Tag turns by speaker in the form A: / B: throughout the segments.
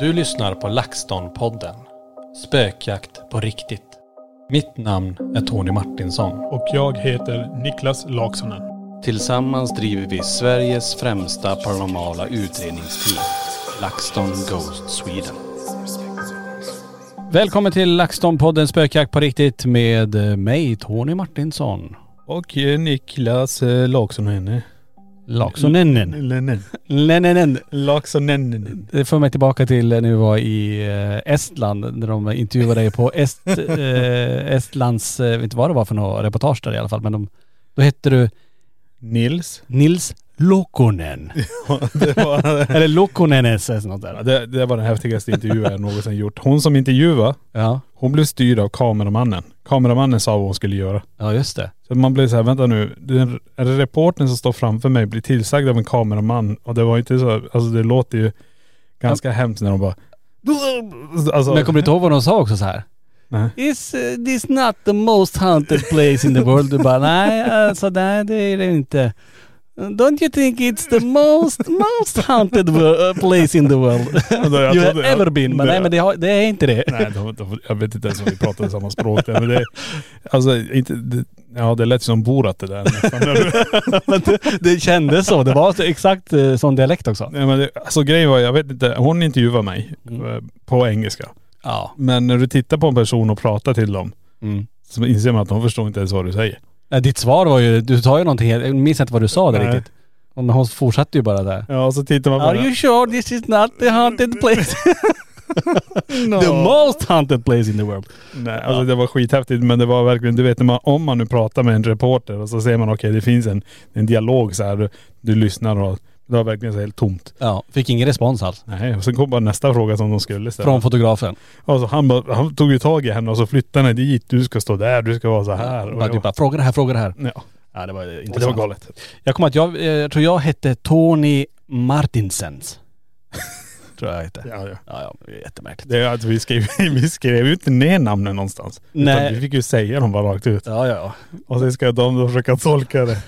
A: Du lyssnar på LaxTon-podden. Spökjakt på riktigt. Mitt namn är Tony Martinsson.
B: Och jag heter Niklas Laksonen.
A: Tillsammans driver vi Sveriges främsta paranormala utredningsteam. LaxTon Ghost Sweden. Välkommen till LaxTon-podden Spökjakt på riktigt med mig Tony Martinsson.
B: Och eh, Niklas eh, Laksonen.
A: Laxonennen.
B: Lennen.
A: Lenenen.
B: Laksonen.
A: Det för mig tillbaka till när vi var i eh, Estland, när de intervjuade dig på Est, eh, Estlands, eh, jag vet inte vad det var för något reportage där i alla fall, men de, då hette du
B: Nils.
A: Nils Lokonen.
B: Det var,
A: Eller Lokonenäs eller något där.
B: det, det var den häftigaste intervjun jag någonsin gjort. Hon som intervjuade,
A: Ja,
B: hon blev styrd av kameramannen. Kameramannen sa vad hon skulle göra.
A: ja just det.
B: Så man blev så här, vänta nu, den, är det reportern som står framför mig blir tillsagd av en kameraman och det var inte så, alltså det låter ju ganska hemskt när de bara alltså,
A: Men jag kommer inte ihåg vad de sa också så här.
B: Nej.
A: Is eh, this not the most haunted place in the world? Du bara, nej alltså nej det är det inte. Don't you think it's the most, most haunted wo- place in the world?
B: Alltså, jag
A: you
B: trodde-
A: have ever been. Men
B: det-
A: nej men det, har, det är inte det.
B: Nej, de, de, jag vet inte ens om vi pratade samma språk där. Men det, alltså, inte, det, ja det lät som Borat det där nästan.
A: Det kändes så. Det var så- exakt eh, sån dialekt också.
B: Nej, men det, alltså grejen var, jag vet inte, hon intervjuade mig eh, på engelska.
A: Ja.
B: Men när du tittar på en person och pratar till dem
A: Mm.
B: så inser man att de förstår inte ens vad du säger.
A: Nej, Ditt svar var ju, du sa ju någonting helt, jag minns inte vad du sa där
B: Nej.
A: riktigt. Men hon fortsatte ju bara där.
B: Ja, och så tittar man på
A: Are
B: den.
A: you sure this is not the haunted place?
B: No.
A: The most haunted place in the world.
B: Nej, alltså det var skithäftigt men det var verkligen, du vet när man, om man nu pratar med en reporter och så ser man okej det finns en, en dialog så här, du, du lyssnar och det var verkligen så helt tomt.
A: Ja, fick ingen respons alls.
B: Nej, och sen kom bara nästa fråga som de skulle ställa.
A: Från fotografen.
B: Alltså han, bara, han tog ju tag i henne och så flyttade henne dit. Du ska stå där, du ska vara så här. Och
A: Bara,
B: jag-
A: typ bara, fråga det här, fråga det här.
B: ja,
A: Ja det var eh, intressant.
B: det var galet.
A: Jag kommer att jag, eh, jag tror jag hette Tony Martinsens. tror jag hette.
B: Ja, ja.
A: Ja, ja, det är jättemärkligt.
B: Det är att vi skrev, vi skrev ju inte ner namnen någonstans.
A: Nej.
B: Utan vi fick ju säga dem bara rakt ut.
A: Ja, ja, ja.
B: Och sen ska de då försöka tolka det.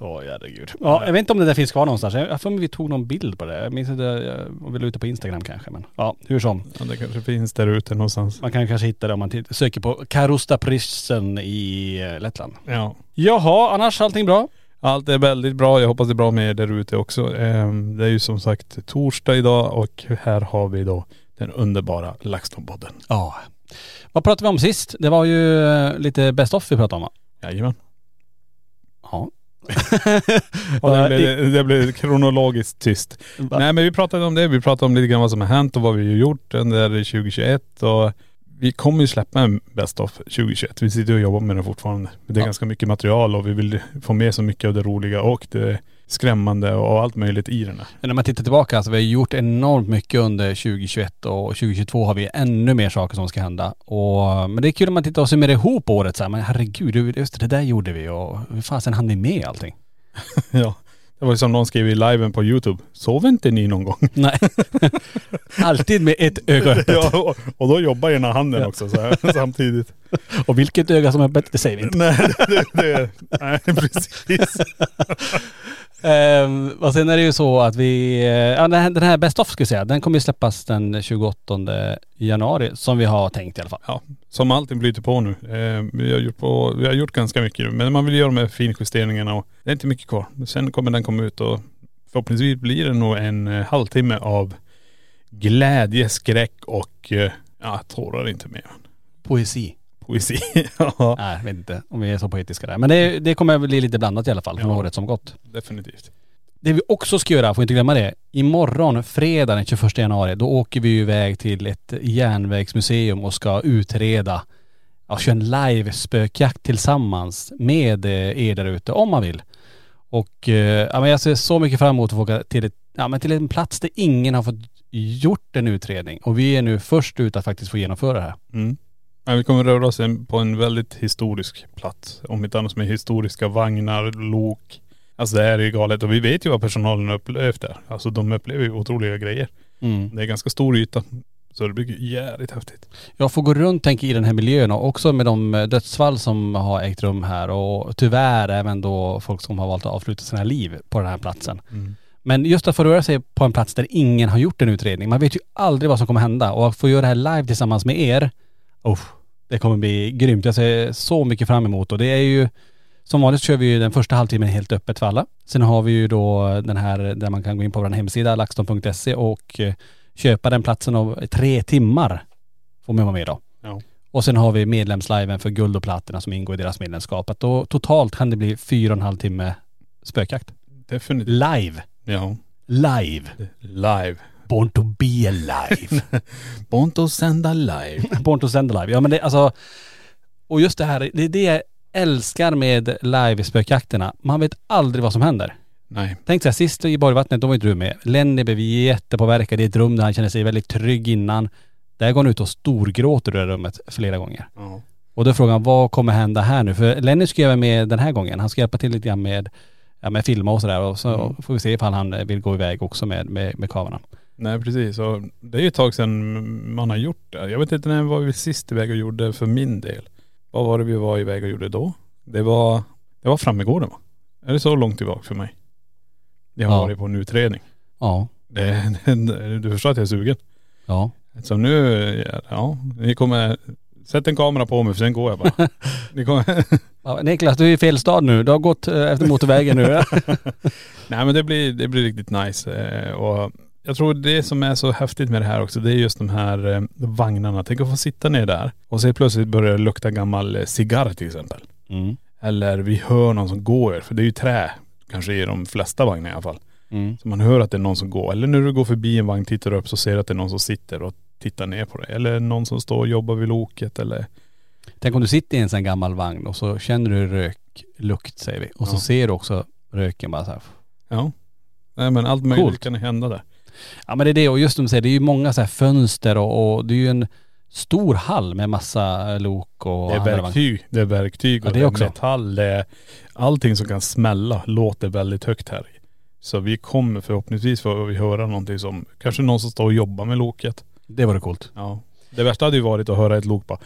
A: Åh herregud. Ja, jag vet inte om det där finns kvar någonstans. Jag jag för mig vi tog någon bild på det. Jag minns inte, jag- om vi la ut det på Instagram kanske. Men ja, hur som.
B: Ja, det kanske finns där ute någonstans.
A: Man kan kanske hitta det om man tittar, söker på Karusta Prison i eh, Lettland.
B: Ja.
A: Jaha, annars allting bra?
B: Allt är väldigt bra. Jag hoppas det är bra med er där ute också. Ehm, Det är ju som sagt torsdag idag och här har vi då den underbara LaxTon-podden.
A: Ja. Vad pratade vi om sist? Det var ju eh, lite best off vi pratade om va?
B: Jajamän.
A: Ja.
B: Och det,
A: Ja,
B: blev, det blev kronologiskt tyst.
A: Va?
B: Nej men vi pratade om det, vi pratade om lite grann vad som har hänt och vad vi har gjort under 2021 och vi kommer ju släppa en Best of 2021. Vi sitter och jobbar med den fortfarande. Men Det är
A: Ja.
B: ganska mycket material och vi vill få med så mycket av det roliga och det skrämmande och allt möjligt i den här.
A: Men när man tittar tillbaka, alltså vi har gjort enormt mycket under 2021 och 2022 har vi ännu mer saker som ska hända. Och, eh, men det är kul om man tittar och summerar ihop året så här, men herregud, hur- just det där gjorde vi och hur fasen hann vi med allting?
B: Ja. Det var ju som någon skrev i liven på Youtube. Sov inte ni någon gång?
A: Nej. Alltid med ett öga öppet.
B: ja, och, och då jobbar ena handen också så här, samtidigt.
A: Och vilket öga som är öppet, det säger vi inte.
B: Nej, det, det, nej precis.
A: Ehm, och sen är det ju så att vi, eh, ja den här, den här Best of ska jag säga, den kommer ju släppas den 28 januari som vi har tänkt i alla fall.
B: Ja, som allting flyter på nu. Eh, vi, har gjort på, vi har gjort ganska mycket nu, men man vill göra de här finjusteringarna och det är inte mycket kvar. Men Sen kommer den komma ut och förhoppningsvis blir det nog en eh, halvtimme av glädje, skräck och eh, ja, tårar inte mer.
A: Poesi.
B: Poesi. ja,
A: Nej, jag vet inte om vi är så poetiska där. Men det, det kommer bli lite blandat i alla fall från
B: Ja.
A: året som gått.
B: definitivt.
A: Det vi också ska göra, får inte glömma det, imorgon fredag den 21 januari, då åker vi ju iväg till ett järnvägsmuseum och ska utreda, ja, köra en live spökjakt tillsammans med eh, er där ute om man vill. Och eh, ja, men jag ser så mycket fram emot att få åka till, ett, ja, men till en plats där ingen har fått gjort en utredning. Och vi är nu först ut att faktiskt få genomföra det här.
B: Ja, vi kommer röra oss en- på en väldigt historisk plats. Om inte annat med historiska vagnar, lok. Alltså det här är ju galet och vi vet ju vad personalen har upplevt där. Alltså de upplever ju otroliga grejer.
A: Mm.
B: Det är ganska stor yta. Så det blir jävligt häftigt.
A: Jag får gå runt tänker jag, i den här miljön och också med de eh, dödsfall som har ägt rum här och tyvärr även då folk som har valt att avsluta sina liv på den här platsen. Men just att få röra sig på en plats där ingen har gjort en utredning, man vet ju aldrig vad som kommer hända och att få göra det här live tillsammans med er, oh, det kommer bli grymt. Jag ser så mycket fram emot och det är ju som vanligt kör vi ju den första halvtimmen helt öppet för alla. Sen har vi ju då den här där man kan gå in på vår hemsida laxton.se och eh, köpa den platsen av tre timmar får man vara med då.
B: Ja.
A: Och sen har vi medlemsliven för guld och platina som ingår i deras medlemskap. Att då, totalt kan det bli fyra och en halv timme spökjakt.
B: Definitivt.
A: Live.
B: Ja.
A: Live.
B: Live.
A: Born to be alive.
B: Bonto sända live.
A: Born to send alive. Ja men det alltså, och just det här, det är det jag älskar med live-spökjakterna. Man vet aldrig vad som händer.
B: Nej.
A: Tänk så här, sist i Borgvattnet, då var inte du med. Lenny blev jättepåverkad i ett rum där han kände sig väldigt trygg innan. Där går han ut och storgråter i det här rummet flera gånger.
B: Ja.
A: Och då är frågan, vad kommer hända här nu? För Lenny ska ju vara med den här gången. Han ska hjälpa till lite grann med, ja, med filma och sådär. Och så
B: Mm.
A: får vi se ifall han eh, vill gå iväg också med, med, med kameran.
B: Nej precis. Och det är ju ett tag sedan man har gjort det. Jag vet inte när var vi sist iväg och gjorde för min del. Vad var det vi var iväg och gjorde då? Det var, det var framgården va? Är det så långt tillbaka för mig? Jag har
A: Ja.
B: varit på en utredning.
A: Ja.
B: Det, det, du förstår att jag är sugen.
A: Ja.
B: Så nu, ja, ni kommer.. Sätt en kamera på mig för sen går jag bara. ni kommer,
A: ja. Niklas, du är i fel stad nu. Du har gått eh, efter motorvägen nu.
B: Nej men det blir, det blir riktigt nice. Eh, och jag tror det som är så häftigt med det här också, det är just de här eh, vagnarna. Tänk att få sitta ner där och se plötsligt börjar det lukta gammal eh, cigarr till exempel.
A: Mm.
B: Eller vi hör någon som går, för det är ju trä. Kanske i de flesta vagnar i alla fall.
A: Mm.
B: Så man hör att det är någon som går. Eller när du går förbi en vagn, tittar upp så ser du att det är någon som sitter och tittar ner på dig. Eller någon som står och jobbar vid loket eller..
A: Tänk om du sitter i en sån här gammal vagn och så känner du röklukt säger vi. Och så
B: Ja.
A: ser du också röken bara så här.
B: Ja. Nej men allt möjligt
A: Coolt.
B: kan hända där.
A: Ja men det är det och just som du säger, det är ju många så här fönster och, och det är ju en stor hall med massa eh, lok och
B: Det är
A: andra vagnar.
B: verktyg, det är verktyg och
A: Ja, det
B: det är
A: också.
B: metall. Det är allting som kan smälla låter väldigt högt här. Så vi kommer förhoppningsvis få höra någonting som, kanske någon som står och jobbar med loket.
A: Det vore coolt.
B: Ja. Det värsta hade ju varit att höra ett lok bara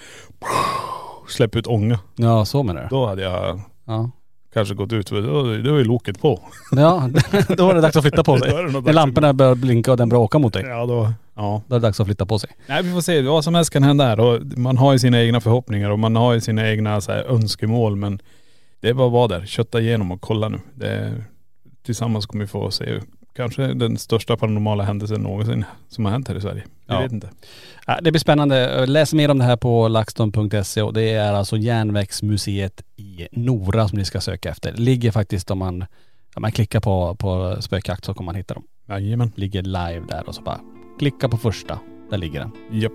B: släppa ut ånga.
A: Ja så menar du?
B: Då hade jag
A: Ja.
B: kanske gått ut, för då, då är ju loket på.
A: Ja, då var det dags att flytta på sig.
B: Då är det nog dags
A: När
B: att-
A: lamporna börjar blinka och den bråkar mot dig.
B: Ja då. Ja.
A: Då är det dags att flytta på sig.
B: Nej vi får se, vad som helst kan hända här. Och man har ju sina egna förhoppningar och man har ju sina egna så här, önskemål men det är bara att vara där, kötta igenom och kolla nu. Det, tillsammans kommer vi få se kanske den största paranormala händelsen någonsin som har hänt här i Sverige. Vi
A: Ja.
B: vet inte.
A: Ja, det blir spännande. Läs mer om det här på laxton.se och det är alltså Järnvägsmuseet i Nora som ni ska söka efter. Ligger faktiskt om man, ja, man klickar på, på spökjakt så kommer man hitta dem.
B: Jajamän.
A: Ligger live där och så bara klicka på första. Där ligger den.
B: Japp.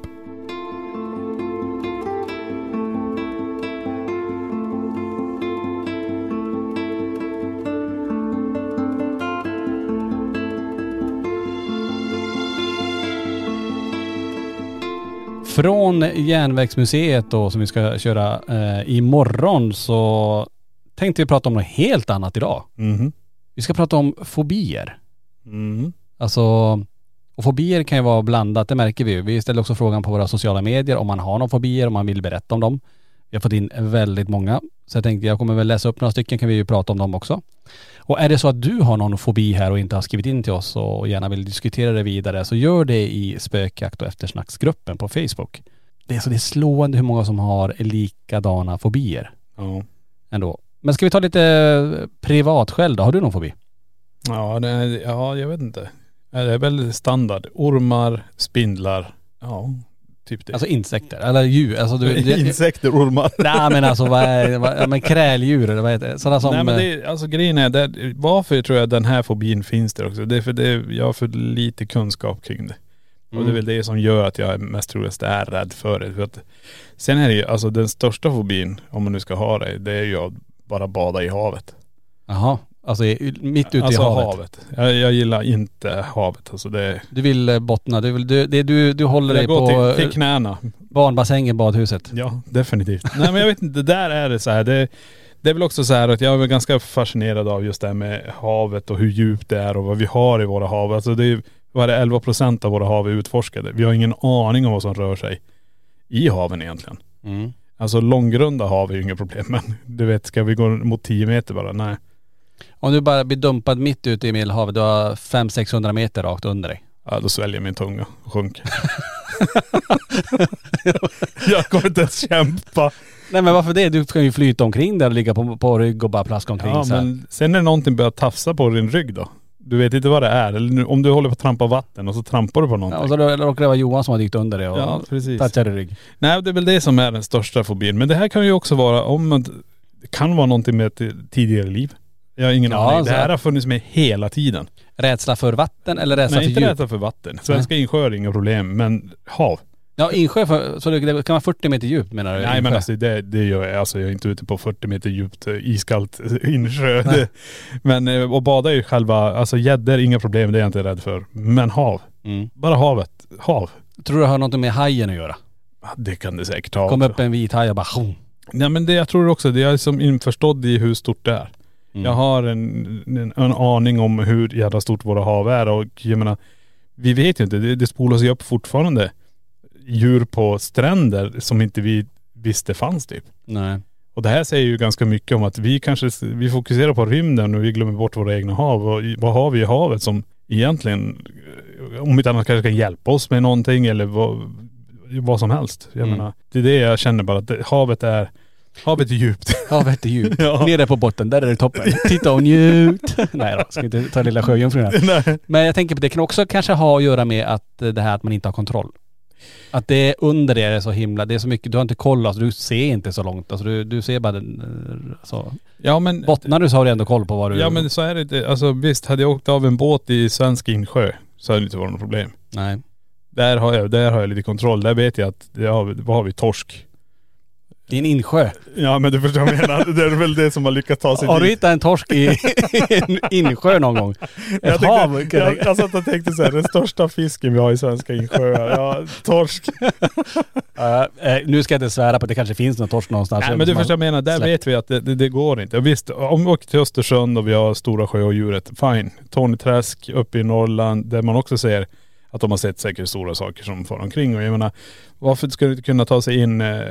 A: Från Järnvägsmuseet då som vi ska köra eh, imorgon så tänkte vi prata om något helt annat idag.
B: Mhm.
A: Vi ska prata om fobier.
B: Mhm.
A: Alltså, och fobier kan ju vara blandat, det märker vi ju. Vi ställer också frågan på våra sociala medier om man har någon fobier, om man vill berätta om dem. Vi har fått in väldigt många. Så jag tänkte jag kommer väl läsa upp några stycken kan vi ju prata om dem också. Och är det så att du har någon fobi här och inte har skrivit in till oss och gärna vill diskutera det vidare så gör det i spökjakt och eftersnacksgruppen på Facebook. Det är så det är slående hur många som har likadana fobier
B: Ja.
A: ändå. Men ska vi ta lite privat själv då? Har du någon fobi?
B: Ja, det, ja, jag vet inte. Ja, Det är väl standard. Ormar, spindlar. Ja, typ det.
A: Alltså insekter eller djur? Alltså du, det,
C: Insekter, ormar.
A: nej men alltså vad är, vad, ja, men kräldjur eller vad heter det? Sådana som.. eh,
B: Nej men det, är- alltså grejen är, det, varför tror jag den här fobin finns där också? Det är för det, jag har för lite kunskap kring det. Och
A: Mm.
B: det är väl det som gör att jag mest troligast är rädd för det. För att, sen är det ju, alltså den största fobin, om man nu ska ha det, det är ju att bara bada i havet.
A: Jaha. Alltså i- mitt ute
B: alltså
A: i havet.
B: Jag, jag gillar inte havet alltså. Det,
A: Du vill eh, bottna, du, vill, du, det, du, du håller dig
B: jag
A: på eh,
B: går till,
A: till,
B: till knäna.
A: barnbassängen, badhuset.
B: Ja, definitivt. Nej men jag vet inte, där är det så här. Det, det är väl också så här att jag är väl ganska fascinerad av just det här med havet och hur djupt det är och vad vi har i våra hav. Alltså det är ju, vad är det, 11 procent av våra hav är utforskade. Vi har ingen aning om vad som rör sig i haven egentligen.
A: Mm.
B: Alltså långgrunda hav är ju inga problem men du vet, ska vi gå mot 10 meter bara? Nej.
A: Om du bara blir dumpad mitt ute i Medelhavet, du har 500-600 meter rakt under dig.
B: Ja, då sväljer jag min tunga och sjunker. jag kommer inte ens kämpa.
A: Nej men varför det? Du kan ju flyta omkring där och ligga på, på rygg och bara plaska omkring
B: Ja,
A: så här.
B: men sen när någonting börjar tafsa på din rygg då? Du vet inte vad det är. Eller nu- om du håller på att trampa vatten och så trampar du på
A: Ja, och
B: någonting.
A: så då- råkar det vara Johan som har dykt under det och
B: Ja, precis.
A: touchar i rygg.
B: Nej, det är väl det som är den största fobin. Men det här kan ju också vara om man, det kan vara någonting med ett tidigare liv. Jag har ingen
A: Ja,
B: aning. Det
A: så-
B: här har funnits med hela tiden.
A: Rädsla för vatten eller rädsla
B: Nej,
A: för
B: inte
A: djup?
B: rädsla för vatten. Svenska insjöar är inga problem, men hav.
A: Ja insjö, för, så det, det kan vara 40 meter djupt menar du?
B: Nej men
A: Insjö.
B: alltså det, det gör jag. Alltså jag är inte ute på 40 meter djupt eh, iskallt eh, insjö. Det, men eh, och bada är ju själva, alltså gäddor inga problem, det är jag inte rädd för. Men hav.
A: Mm.
B: Bara havet. Hav.
A: Tror du det har något med hajen att göra?
B: Ja, Det kan det säkert ha.
A: Kom
B: också.
A: upp en vit haj och bara tjong.
B: Nej men det jag tror också, det jag är som införstådd i hur stort det är.
A: Mm.
B: Jag har en, en, en aning om hur jävla stort våra hav är och jag menar, vi vet ju inte, det, det spolas ju upp fortfarande djur på stränder som inte vi visste fanns typ.
A: Nej.
B: Och det här säger ju ganska mycket om att vi kanske, vi fokuserar på rymden och vi glömmer bort våra egna hav. Och i- vad har vi i havet som egentligen, eh, om inte annat kanske kan hjälpa oss med någonting eller vad, vad som helst. Jag
A: Mm.
B: menar, det är det jag känner bara att det, havet är, havet är djupt.
A: Havet är djupt.
B: Ja.
A: Nere på botten, där är det toppen. Titta och njut. Nej då, ska inte ta lilla sjöjungfrun här.
B: Nej.
A: Men jag tänker på det kan också kanske ha att göra med att eh, det här att man inte har kontroll. Att det är under det är så himla, det är så mycket, du har inte koll alltså, du ser inte så långt. Alltså du, du ser bara den, eh, så.
B: Ja men,
A: Bottnar du så har du ändå koll på vad du..
B: ja men så är det inte. Alltså visst, hade jag åkt av en båt i svensk insjö så hade det inte varit något problem.
A: Nej.
B: Där har jag, där har jag lite kontroll. Där vet jag att, ja, vad har vi, torsk?
A: Det är en insjö.
B: Ja men du förstår vad jag menar. Det är väl det som har lyckats ta sig
A: Har
B: dit.
A: du hittat en torsk i en insjö någon gång? Ett
B: tänkte-
A: hav? kan jag
B: jag,
A: tänka.
B: jag satt och tänkte så här, den största fisken vi har i svenska insjöar, ja torsk.
A: Eh, nu ska jag inte svära på att det kanske finns någon torsk någonstans.
B: Nej men du
A: Man-
B: förstår vad jag menar, där
A: släpp.
B: vet vi att det, det, det går inte. Visst, om vi åker till Östersund och vi har Stora Sjöodjuret, fine. Torneträsk uppe i Norrland, där man också ser att de har sett säkert stora saker som far omkring. Och jag menar, varför skulle du inte kunna ta sig in eh,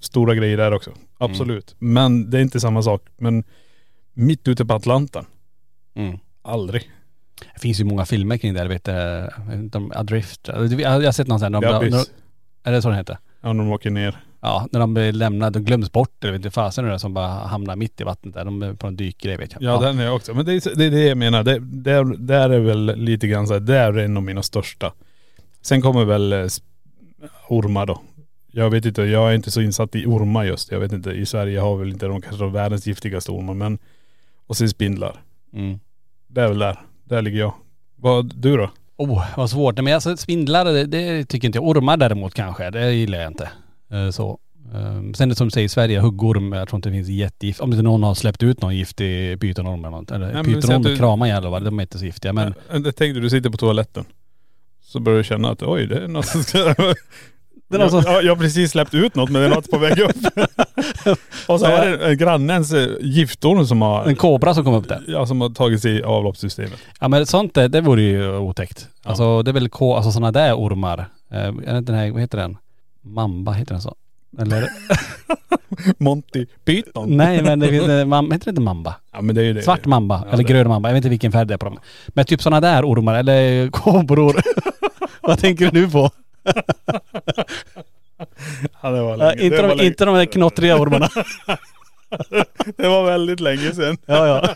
B: stora grejer där också? Absolut. Men det är inte samma sak. Men mitt ute på Atlanten,
A: Mm.
B: aldrig.
A: Det finns ju många filmer kring det, jag vet du, de, Adrift. Alltså, Jag jag har sett någon sån här,
B: Det är
A: de, de,
B: abyss.
A: är det så den heter?
B: Ja, när de åker ner.
A: Ja, när de blir lämnade, de glöms bort eller vet inte fasen hur det är som bara hamnar mitt i vattnet där. De är på en dykgrej vet jag.
B: Ja, den är jag också. Men det är så- det, är det jag menar. Det, där, där är väl lite grann så här, där är en av mina största. Sen kommer väl eh, sp- ormar då. Jag vet inte, jag är inte så insatt i ormar just. Jag vet inte, i Sverige har vi väl inte de kanske de världens giftigaste ormar men.. Och sen spindlar.
A: Mm.
B: Det är väl där. Där ligger jag. Vad, du då?
A: Oh, vad svårt. Nej, Men alltså spindlar, det, det tycker inte jag. Ormar däremot kanske, det gillar jag inte. Eh, Så. Eh, Sen det som du säger i Sverige, huggorm, jag tror inte det finns jättegift. Om inte någon har släppt ut någon giftig pytonorm eller något. Eller
B: men vi säger
A: pytonorm,
B: att du-
A: kramar jag i alla fall, de är inte så giftiga. Men
B: Men. Jag tänkte du sitter på toaletten. Så börjar du känna att oj det är något som ska..
A: är något som-
B: jag, jag, jag har precis släppt ut något men det är något på väg upp. och så är det eh, grannens eh, giftorm som har..
A: en kobra som kom upp där.
B: Ja, som har tagit sig i avloppssystemet.
A: Ja men sånt där, det vore ju otäckt. Alltså det är väl K, alltså sådana där ormar. Eh, är det inte den här, vad heter den? Mamba, heter den så? Eller?
B: Monty Python.
A: Nej men det finns, eh, mam- heter det inte mamba?
B: Ja men det är ju det.
A: Svart mamba
B: Ja,
A: eller
B: det-
A: grön mamba. Jag vet inte vilken färg det är på dem. Men typ sådana där ormar eller kobror. Vad tänker du nu på?
B: Ja, det var
A: Ja,
B: länge.
A: Äh, inte,
B: det, var
A: de,
B: länge.
A: inte de där knottriga ormarna.
B: det var väldigt länge sedan.
A: ja, ja.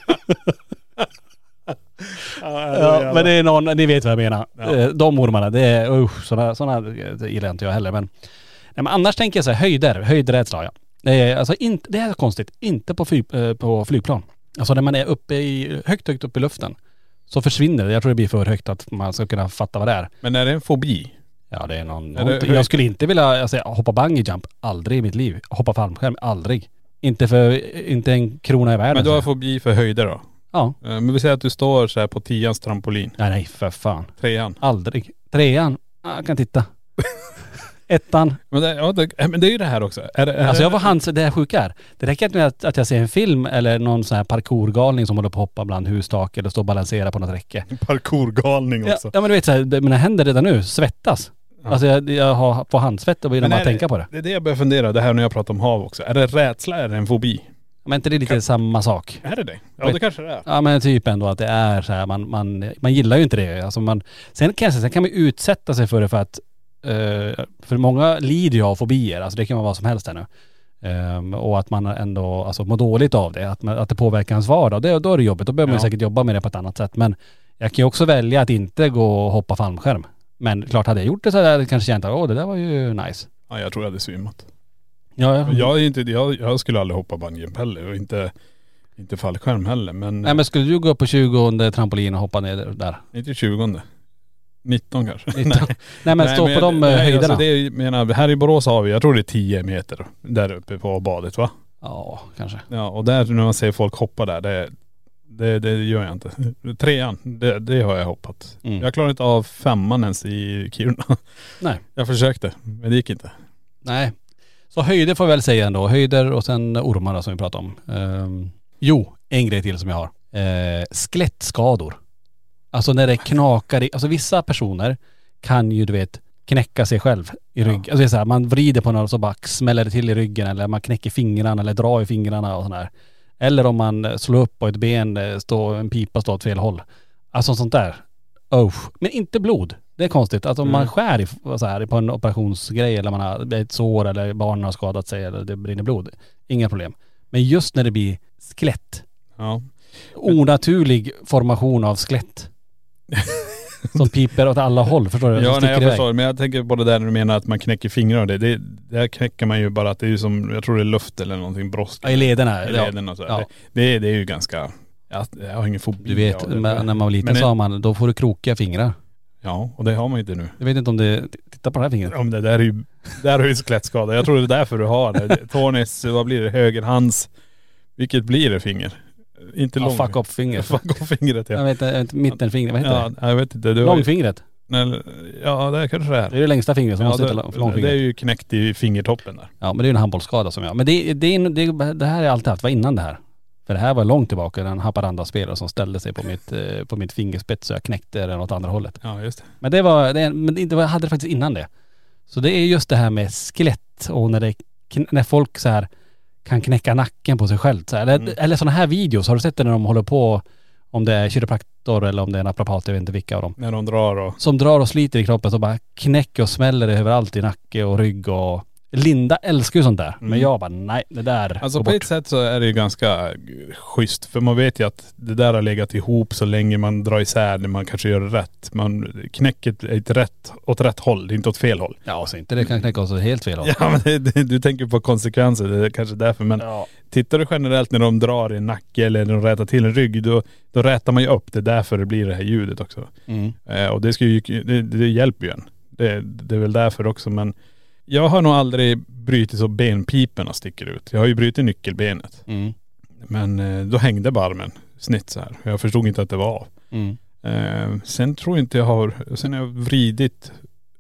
A: ja men det är någon, ni vet vad jag menar. Eh, De ormarna, det är usch, sådana, sådana det gillar inte jag heller. Men, nej, men annars tänker jag så här, höjder, höjdrädsla har jag. Det är, alltså inte, det är konstigt, inte på, fly, eh, på flygplan. Alltså när man är uppe i, högt, högt upp i luften så försvinner det. Jag tror det blir för högt att man ska kunna fatta vad det är.
B: Men är det en fobi?
A: Ja det är någon,
B: Är det-
A: jag skulle inte vilja alltså, hoppa bungee jump, aldrig i mitt liv. Hoppa fallskärm, aldrig. Inte för, inte en krona i världen.
B: Men du har
A: så.
B: fobi för höjder då?
A: Ja.
B: Eh, Men vi säger att du står så här på tians trampolin.
A: Nej nej för fan.
B: Trean.
A: Aldrig. Trean, ah, jag kan titta. Ettan.
B: Men det, ja, det, eh, men det är ju det här också. Är det, är
A: Alltså jag
B: det-
A: var hans, det här sjuka är. Det räcker inte med att, att jag ser en film eller någon sån här parkourgalning som håller på att hoppa bland hustak eller står och balansera på något räcke.
B: Parkourgalning
A: Ja,
B: också.
A: ja men du vet så här, det- mina händer redan nu svettas. Alltså jag, jag har, får handsvett och blir
B: Men
A: bara
B: är
A: tänka på det.
B: Det är det jag börjar fundera, det här när jag pratar om hav också. Är det rädsla eller en fobi?
A: Men inte det är lite samma sak?
B: Är det det? Ja det kanske det är.
A: Ja men typ ändå att det är så här, man, man, man gillar ju inte det. Alltså man, sen, kan jag, säga, sen kan man ju utsätta sig för det för att, eh, för många lider ju av fobier, alltså det kan vara vad som helst här nu. Ehm, och att man ändå alltså, mår dåligt av det, att, man, att det påverkar ens vardag. Det, då är det jobbigt, då behöver man ju
B: Ja.
A: säkert jobba med det på ett annat sätt. Men jag kan ju också välja att inte gå och hoppa fallskärm. Men klart hade jag gjort det så hade jag kanske känt att åh det där var ju nice.
B: Ja, jag tror jag hade svimmat.
A: Ja, ja.
B: Jag, är inte, jag, jag skulle aldrig hoppa bungyjump heller och inte, inte fallskärm heller. Men,
A: Nej men skulle du gå upp på 20 trampolin och hoppa ner där?
B: inte 20. 19 kanske.
A: Nej, men stå på de eh,
B: nej,
A: höjderna.
B: Alltså det är, ju- menar, här i Borås har vi, jag tror det är 10 meter där uppe på badet va?
A: Ja kanske.
B: Ja och där när man ser folk hoppa där, det, det, det gör jag inte. Trean, det, det har jag hoppat.
A: Mm.
B: Jag klarar inte av femman ens i Kiruna.
A: Nej.
B: Jag försökte, men det gick inte.
A: Nej. Så höjder får jag väl säga ändå. Höjder och sen ormar då, som vi pratade om. Ehm, jo, en grej till som jag har. Uh, skelettskador. Alltså när det knakar i, alltså vissa personer kan ju du vet knäcka sig själv i ryggen. Alltså det är så här, man vrider på någon och så bara smäller det till i ryggen eller man knäcker fingrarna eller drar i fingrarna och sådär. Eller om man eh, slår upp och ett ben, eh, står, en pipa står åt fel håll. Alltså sånt där. Oh. Men inte blod. Det är konstigt. Att om man skär i, så här, på en operationsgrej eller man har ett sår eller barnen har skadat sig eller det brinner blod. Inga problem. Men just när det blir skelett.
B: Ja.
A: Onaturlig formation av skelett. Som piper åt alla håll. Förstår du? Som
B: Ja, nej,
A: sticker
B: jag
A: iväg.
B: förstår. Men jag tänker på det där när du menar att man knäcker fingrar och det. det där knäcker man ju bara att det är ju som, jag tror det är luft eller någonting, brosk.
A: Ja, I lederna.
B: i
A: ja.
B: lederna och så.
A: Ja.
B: Det, det, är- det är ju ganska, jag, jag har ingen fobi
A: Du vet,
B: av det.
A: när man var liten
B: Men det-
A: sa man, då får du krokiga fingrar.
B: Ja, och det har man ju inte nu.
A: Jag vet inte om det, titta på det här fingret.
B: Om det där är ju, där har ju skelettskada. Jag tror det är därför du har det. Tornis, vad blir det, högerhands, vilket blir det finger? Inte
A: Ja,
B: lång.
A: fuck off fingret.
B: Fuck off fingret
A: Jag
B: ja.
A: vet inte, mittenfingret, vad heter
B: Ja, jag vet inte. Du
A: det?
B: har ju,
A: Långfingret.
B: nej, ja, det är kanske det
A: Det
B: är.
A: är det längsta fingret som
B: Ja,
A: måste
B: det,
A: heta långfingret.
B: det är ju knäckt i fingertoppen där.
A: Ja men det är ju en handbollsskada som jag. Men det, det, är- det, det här har jag alltid haft, var innan det här. För det här var långt tillbaka, en Haparanda-spelare som ställde sig på mitt, eh, på mitt fingerspets så jag knäckte den åt andra hållet.
B: Ja, just det.
A: Men det var, det, men det var, jag hade det faktiskt innan det. Så det är just det här med skelett och när, det, kn- när folk så här kan knäcka nacken på sig själv. Så här. Eller,
B: Mm.
A: eller sådana här videos, har du sett det när de håller på, om det är kiropraktor eller om det är naprapat, jag vet inte vilka av dem.
B: När de drar och..
A: Som drar och sliter i kroppen så bara knäcker och smäller det överallt i nacke och rygg och Linda älskar ju sånt där. Men jag bara nej, det där
B: Mm. Alltså
A: går
B: på
A: bort.
B: ett sätt så är det ju ganska schysst. För man vet ju att det där har legat ihop så länge man drar isär när man kanske gör rätt. Man knäcker ett- ett rätt, åt rätt håll, inte åt fel håll.
A: Ja, så inte det kan knäcka oss åt helt fel håll.
B: Ja men det, det, du tänker på konsekvenser, det är kanske därför. Men tittar du generellt när de drar i en nacke eller när de rätar till en rygg, då, då rätar man ju upp. Det är därför det blir det här ljudet också.
A: Mm.
B: Eh, och det, ska ju, det, det hjälper ju en. Det, det är väl därför också men jag har nog aldrig brutit så benpiporna sticker ut. Jag har ju brutit nyckelbenet.
A: Mm.
B: Men eh, då hängde barmen snitt så här. Jag förstod inte att det var av.
A: Mm.
B: Eh, sen tror inte jag har, sen har jag vridit,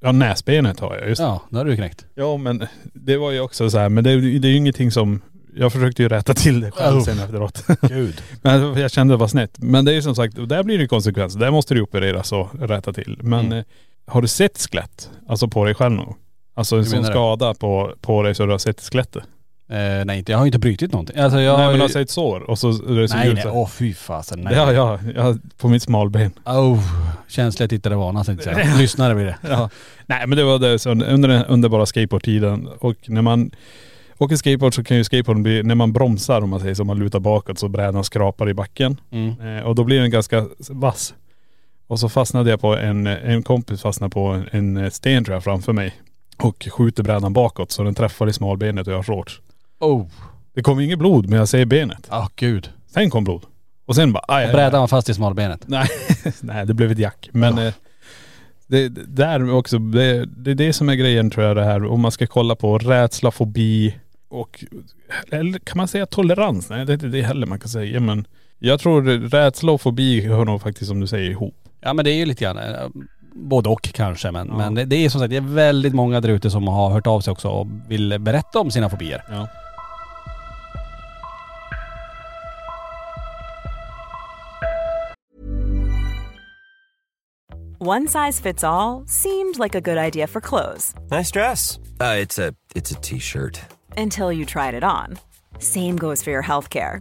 B: ja näsbenet har jag just. Ja,
A: Ja, det har du ju knäckt.
B: ja men det var ju också så här, men det, det är ju ingenting som, jag försökte ju rätta till det själv
A: Oh.
B: sen efteråt.
A: Gud.
B: men jag kände det var snett. Men det är ju som sagt, där blir det ju konsekvenser. Där måste du opereras och rätta till. Men
A: Mm.
B: eh, har du sett skelett, alltså på dig själv någon gång? Alltså en
A: Hur
B: sån
A: menar du?
B: skada på, på dig så du har sett skelettet.
A: Eh, nej inte, jag har inte brutit någonting. Alltså jag
B: nej men
A: har
B: du har
A: ju-
B: sett sår och så är det så
A: Nej
B: gult
A: nej,
B: så här.
A: åh fy fasen nej.
B: Det har jag, jag har- på mitt smalben.
A: Oh, känsliga tittare varnas tänkte jag säga. Lyssnare blir det.
B: Ja. Nej men det var det så under den underbara skateboardtiden. Och när man åker skateboard så kan ju skateboarden bli, när man bromsar om man säger så, man lutar bakåt så brädan skrapar i backen.
A: Mm.
B: Eh, och då blir den ganska vass. Och så fastnade jag på en, en kompis fastnade på en, en sten tror jag framför mig. Och skjuter brädan bakåt så den träffar i smalbenet och jag har shorts.
A: Oh,
B: Det kom inget blod men jag ser benet.
A: ah gud.
B: Sen kom blod. Och sen bara aj, aj,
A: Och
B: aj.
A: brädan var fast i smalbenet.
B: Nej, nej det blev ett jack. Men eh, det, det där också, det, det är det som är grejen tror jag det här. Om man ska kolla på rädsla, fobi och, eller kan man säga tolerans? Nej det är inte det heller man kan säga. Men jag tror rädsla och fobi hör nog faktiskt som du säger ihop.
A: Ja men det är ju lite grann, eh, både och kanske men, men det, det är som sagt, det är väldigt många där ute som har hört av sig också och vill berätta om sina fobier.
B: Ja.
D: One size fits all seemed like a good idea for clothes
C: Nice dress. Uh, it's a it's a t-shirt.
D: until you tried it on. Same goes for your healthcare.